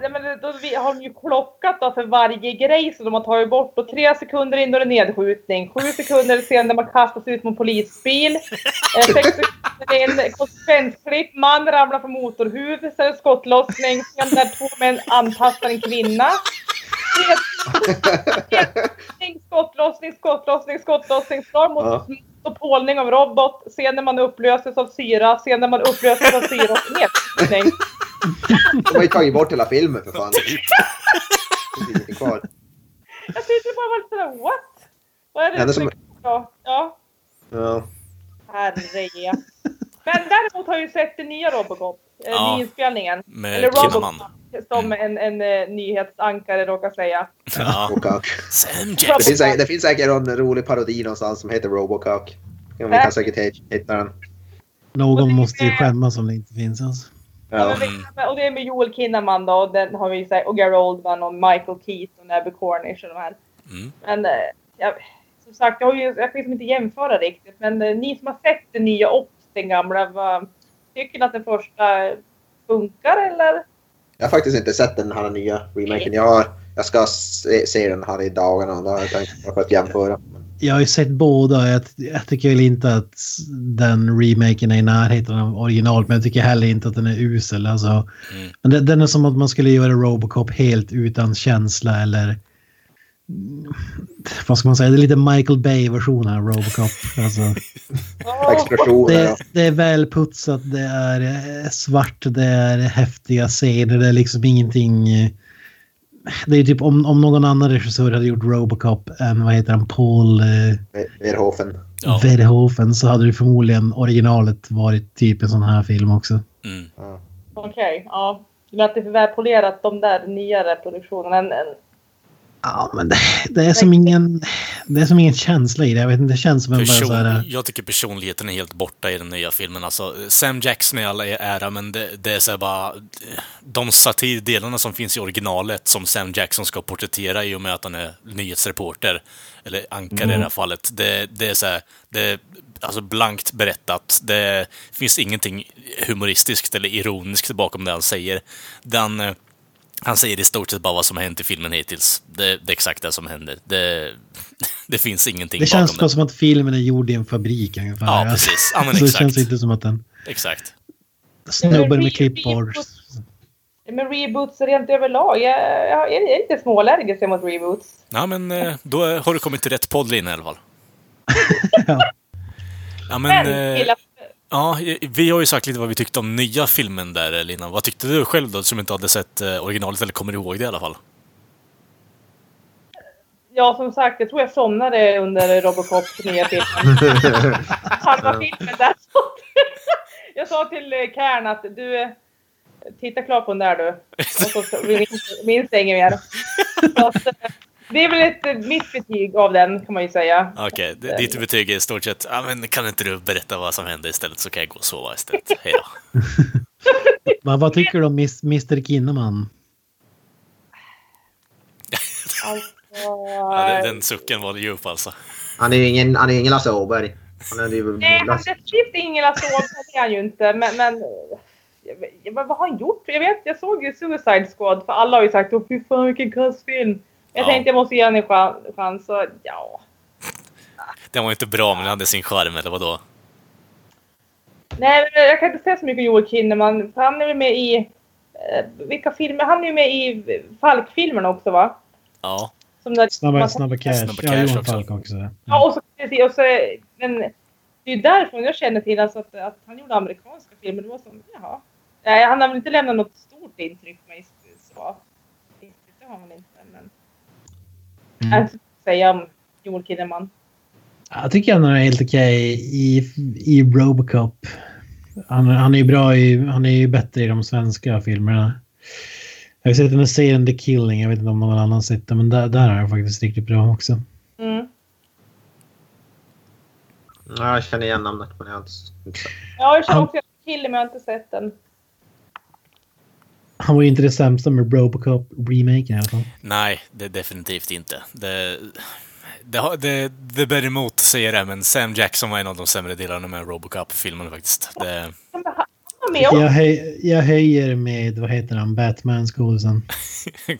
Speaker 5: nej, men då vi- har de ju klockat då för varje grej som de har tagit bort. Och tre sekunder in då är det nedskjutning. Sju sekunder sen när man kastas ut mot polisbil. Eh, sex sekunder in konsekvensklipp. Man ramlar från motorhuv. Sen är det skottlossning. Sen där två män antastar en kvinna. Tre Skottlossning, skottlossning, skottlossning, skottlossning, slag mot
Speaker 3: Ja.
Speaker 5: och pålning av robot, sen när man upplöses av syra, sen när man upplöses av syra och nedskjutning.
Speaker 3: De har ju tagit bort hela filmen för fan. Det finns inte kvar.
Speaker 5: Jag tyckte det bara var lite sådär what? Vad är det,
Speaker 3: Ja, det är
Speaker 5: som är
Speaker 3: som-
Speaker 5: Ja, ja.
Speaker 3: Ja.
Speaker 5: herre Men däremot har jag ju sett den nya Robocop. eh,
Speaker 2: Ja.
Speaker 5: Nyinspelningen.
Speaker 2: Med
Speaker 5: Eller Robocop.
Speaker 2: Kinnaman. Mm.
Speaker 5: Som en, en eh, nyhetsankare råkar säga.
Speaker 2: Ja.
Speaker 3: Robocock.
Speaker 2: Sam
Speaker 3: Det
Speaker 2: Jackson.
Speaker 3: finns, säkert, det finns säkert någon rolig parodi någonstans som heter Robocock. Ja, vi kan säkert hit- hitta den.
Speaker 4: Någon måste ju skämmas om det inte finns alltså.
Speaker 3: Ja.
Speaker 2: Mm.
Speaker 5: Och det är med Joel Kinnaman då. Och den har vi ju så här, och Gary Oldman och Michael Keaton och Abbey Cornish och de här.
Speaker 2: Mm.
Speaker 5: Men eh, jag, som sagt, jag, har ju, jag kan liksom inte jämföra riktigt. Men eh, ni som har sett den nya och den gamla, vad, tycker ni att den första funkar eller?
Speaker 3: Jag har faktiskt inte sett den här nya remaken. Jag, har, jag ska se, se den här i dagarna. Då har jag tänkt bara för att jämföra.
Speaker 4: Jag har ju sett båda. Jag, jag tycker väl inte att den remaken är i närheten av originalet, men jag tycker heller inte att den är usel. Alltså. Men det, den är som att man skulle göra Robocop helt utan känsla eller... Mm, Vad ska man säga? Det är lite Michael Bay-version av Robocop. Alltså,
Speaker 3: Explosioner
Speaker 4: det,
Speaker 3: och...
Speaker 4: det är välputsat, det är eh, svart, det är häftiga scener, det är liksom ingenting... eh, Det är typ om, om någon annan regissör hade gjort Robocop än vad heter han, Paul... Eh,
Speaker 3: Verhoeven.
Speaker 2: Ja.
Speaker 4: Verhoeven så hade det förmodligen originalet varit typ en sån här film också.
Speaker 2: Mm.
Speaker 3: Ja.
Speaker 5: Okej, ja. Men att det är för välpolerat de där nyare produktionerna. En, en,
Speaker 4: Ja, men det, det, är som ingen, det är som ingen känsla i det. Jag vet inte, det känns som en bara så
Speaker 2: Person,
Speaker 4: här...
Speaker 2: jag tycker personligheten är helt borta i den nya filmen. Alltså, Sam Jackson i all ära, men det, det är så här bara... De satirdelarna som finns i originalet som Sam Jackson ska porträttera i och med att han är nyhetsreporter, eller ankare
Speaker 4: Mm.
Speaker 2: i det här fallet, det, det är så här, det är alltså blankt berättat. Det finns ingenting humoristiskt eller ironiskt bakom det han säger. Den, eh, han säger i stort sett bara vad som har hänt i filmen hittills. Det, det är exakt det som händer. Det, det finns ingenting
Speaker 4: Det känns
Speaker 2: bakom
Speaker 4: bara som att filmen är gjord i en fabrik ungefär.
Speaker 2: Ja, precis. Ja, men
Speaker 4: så det
Speaker 2: exakt.
Speaker 4: känns inte som att den
Speaker 2: Exakt.
Speaker 4: snubben med
Speaker 5: Reboot-
Speaker 4: clipboard.
Speaker 5: men reboots rent överlag. Jag, jag, jag är lite småallergisk mot reboots.
Speaker 2: Ja, men eh, då eh, har du kommit till rätt podd, Lina, i alla fall.
Speaker 4: Ja.
Speaker 2: Ja,
Speaker 5: Men,
Speaker 2: men, eh,
Speaker 5: killar,
Speaker 2: ja, vi har ju sagt lite vad vi tyckte om nya filmen där, eh, Lina. Vad tyckte du själv då, som inte hade sett eh, originalet eller kommer ihåg det i alla fall?
Speaker 5: ja, som sagt, jag tror jag somnade under Robocops nya film. Halva filmen där. Jag sa till eh, Kern att du, titta klart på den där du. Och så minns- minns jag inget mer. Så att, eh, det är väl ett, eh, mitt betyg av den kan man ju säga.
Speaker 2: Okej, okay, ditt betyg är i stort sett ah, men kan inte du berätta vad som hände istället så kan jag gå och sova istället. Hej då.
Speaker 4: Vad, vad tycker du om Miss- Mr Kinnaman?
Speaker 5: Alltså,
Speaker 2: Ja, den, den sucken var djup alltså.
Speaker 3: Han är ju ingen, han är ingen Lasse Åberg. Han är ju
Speaker 5: Nej, han
Speaker 3: Lasse,
Speaker 5: definitivt ingen Lasse Åberg, det är han ju inte. Men, men jag vet- jag, vad har han gjort? Jag vet, jag såg ju Suicide Squad för alla har ju sagt åh fy fan vilken kass film. Jag
Speaker 2: Ja.
Speaker 5: tänkte jag måste ge honom en chan- chans. Så, ja.
Speaker 2: Den var inte bra men den hade sin charm eller vadå?
Speaker 5: Nej, men jag kan inte säga så mycket om Joel Kinnaman. För han är väl med i... Eh, vilka filmer? Han är ju med i Falk-filmerna också va?
Speaker 2: Ja,
Speaker 5: Som där,
Speaker 4: Snabba, snabba cash.
Speaker 2: Snabba
Speaker 4: ja,
Speaker 2: cash
Speaker 4: Johan
Speaker 2: också.
Speaker 4: Falk också.
Speaker 5: Ja, och så, precis, och så, men det är ju därifrån jag känner till alltså att, att han gjorde amerikanska filmer. Det var som, jaha. Nej, han har väl inte lämnat något stort intryck på mig. Så. Det har han inte. Men...
Speaker 4: Mm.
Speaker 5: Jag ska säga om Joel Kinnaman.
Speaker 4: Jag tycker han är helt okej i, i Robocop. Han, han är ju bra i, han är ju bättre i de svenska filmerna. Jag har sett den här serien The Killing, jag vet inte om någon annan sett den, men där, där är han faktiskt riktigt bra också.
Speaker 5: Mm.
Speaker 3: ja, jag känner igen namnet men jag har inte- inte...
Speaker 5: Ja, jag känner
Speaker 4: Han-
Speaker 5: också killen men jag har inte sett den.
Speaker 4: Han var ju inte det sämsta med Robocop-remaken i alla fall.
Speaker 2: nej, det definitivt inte. Det, det, har- det, det bär emot att säga det, men Sam Jackson var en av de sämre delarna med Robocop-filmen faktiskt. Det,
Speaker 5: Han var han var med
Speaker 4: Jag,
Speaker 5: också.
Speaker 4: höj, jag höjer med, vad heter han, Batman-skådisen.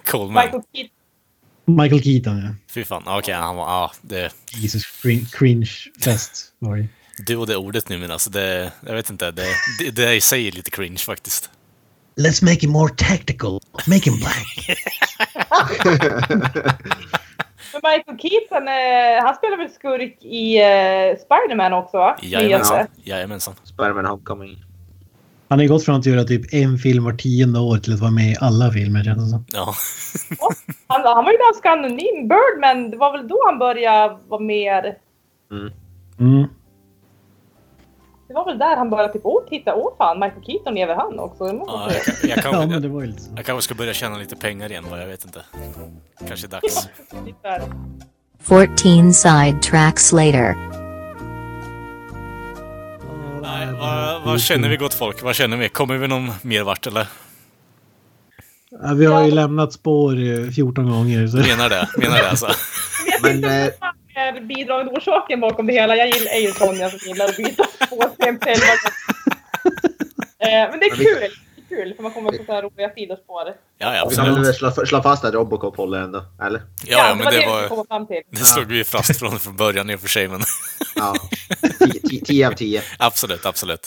Speaker 2: Coleman,
Speaker 5: Michael Keaton.
Speaker 4: Michael Keaton, ja.
Speaker 2: fy fan. Okej, han var... Ja, det,
Speaker 4: Jesus crin- cringe-fest var det.
Speaker 2: du och det ordet nu men alltså det... Jag vet inte, det, det, det i sig är lite cringe faktiskt.
Speaker 4: Let's make it more tactical. Make him black.
Speaker 5: Men Michael Keaton, eh, han spelar väl skurk i eh, Spider-Man också va?
Speaker 2: Jajamensan.
Speaker 5: Nyaste.
Speaker 2: Jajamensan.
Speaker 3: Spiderman Homecoming.
Speaker 4: Han har ju gått från att göra typ en film var tionde år till att vara med i alla filmer känns det som.
Speaker 2: Ja.
Speaker 5: Ja, Han, han var ju ganska anonym. Birdman, det var väl då han började vara mer...
Speaker 4: Mm.
Speaker 5: Det var väl där han började typ, åh titta, åh fan, Michael Keaton lever han också. Det måste man
Speaker 2: Ja,
Speaker 5: säga.
Speaker 2: jag, kan- jag,
Speaker 4: Ja, men
Speaker 2: kan,
Speaker 4: det var ju lite så.
Speaker 2: jag kanske ska börja tjäna lite pengar igen, vad jag vet inte. Kanske dags.
Speaker 5: Ungefär.
Speaker 6: 14 side tracks later.
Speaker 2: Nej, vad, vad känner vi gott folk? Vad känner vi? Kommer vi någon mer vart eller?
Speaker 4: Ja, vi har ju lämnat spår eh, 14 gånger. Så.
Speaker 2: Menar det? Menar det alltså?
Speaker 3: Men eh,
Speaker 5: Fan, är bidragande orsaken bakom det hela. Jag gillar, är ju Sonja som gillar att byta spår till en själv. Eh, Men det är kul. Det är kul för man kommer på så här roliga sidospår.
Speaker 2: Ja, ja,
Speaker 3: vi kan
Speaker 2: Alltså, absolut.
Speaker 3: väl slå, slå fast att Robocop håller ändå, eller?
Speaker 2: Ja, ja, men det
Speaker 5: vi
Speaker 2: var...
Speaker 5: kom fram till.
Speaker 2: Det slog vi ju fast från, från början i och för sig, men
Speaker 3: Ja. 10 10 av 10.
Speaker 2: absolut, absolut.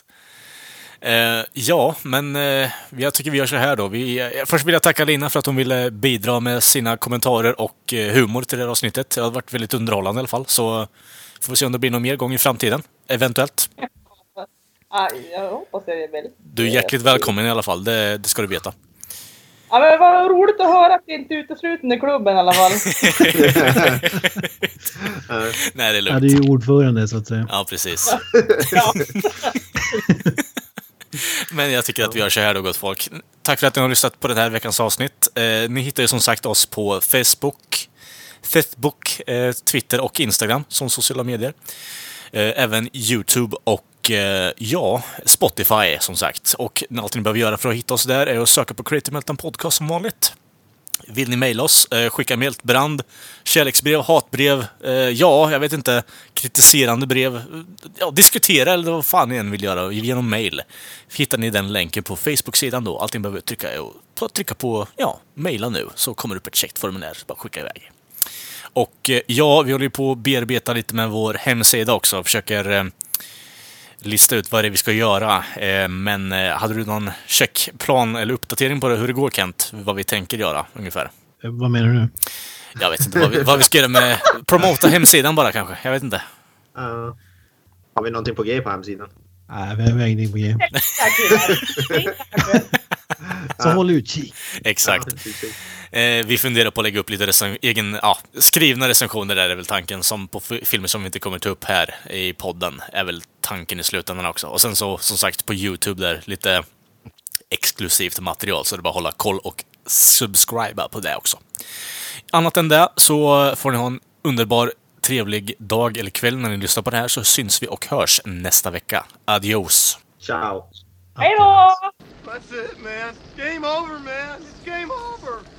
Speaker 2: Eh, ja, men eh, jag tycker vi gör så här då. Vi, eh, först vill jag tacka Lina för att hon ville bidra med sina kommentarer och eh, humor till det här avsnittet. Det har varit väldigt underhållande i alla fall, så får vi se om det blir någon mer gång i framtiden, eventuellt.
Speaker 5: Ja, Ah, jag hoppas det är väl.
Speaker 2: Du är hjärtligt välkommen i alla fall, det, det ska du veta.
Speaker 5: Ja, men vad roligt att höra att vi inte är utesluten i klubben i alla fall.
Speaker 2: Nej, det är
Speaker 4: Ja,
Speaker 2: lugnt.
Speaker 4: du är ju ordförande så att eh, säga.
Speaker 2: Ja, precis.
Speaker 5: Ja.
Speaker 2: Men jag tycker att vi gör så här då, gott folk. Tack för att ni har lyssnat på den här veckans avsnitt. Eh, ni hittar ju som sagt oss på Facebook, Facebook eh, Twitter och Instagram som sociala medier. Eh, även YouTube och eh, ja, Spotify som sagt. Och allt ni behöver göra för att hitta oss där är att söka på Creative Meltdown Podcast som vanligt. Vill ni mejla oss, eh, skicka mejl till brand, kärleksbrev, hatbrev, eh, ja, jag vet inte, kritiserande brev, eh, ja, diskutera eller vad fan ni än vill göra genom mejl. Hittar ni den länken på Facebook-sidan då. Allt ni behöver trycka är att trycka på, ja, mejla nu, så kommer det upp ett checkformulär, så bara skicka iväg. Och eh, ja, vi håller ju på att bearbeta lite med vår hemsida också, försöker eh, lista ut vad det är vi ska göra. Eh, Men eh, hade du någon checkplan eller uppdatering på det, hur det går Kent? Vad vi tänker göra ungefär?
Speaker 4: Eh, Vad menar du?
Speaker 2: Jag vet inte vad vi, vad vi ska göra med... Promota hemsidan bara kanske? Jag vet inte.
Speaker 3: Ja. har vi någonting på G på hemsidan?
Speaker 4: Nej, vi har ingenting på G.
Speaker 5: Tack, killar.
Speaker 4: Så håll utkik.
Speaker 2: Exakt.
Speaker 3: typ
Speaker 2: Eh, vi funderar på att lägga upp lite recen- egen, ja, skrivna recensioner där är väl tanken, som på f- filmer som vi inte kommer ta upp här i podden, är väl tanken i slutändan också. Och sen så, som sagt, på YouTube där, lite exklusivt material, så det är bara att hålla koll och subscriba på det också. Annat än det så får ni ha en underbar, trevlig dag eller kväll när ni lyssnar på det här, så syns vi och hörs nästa vecka. Adios!
Speaker 3: Ciao.
Speaker 5: Hej då!
Speaker 1: That's it, man. Game over, man. It's game over.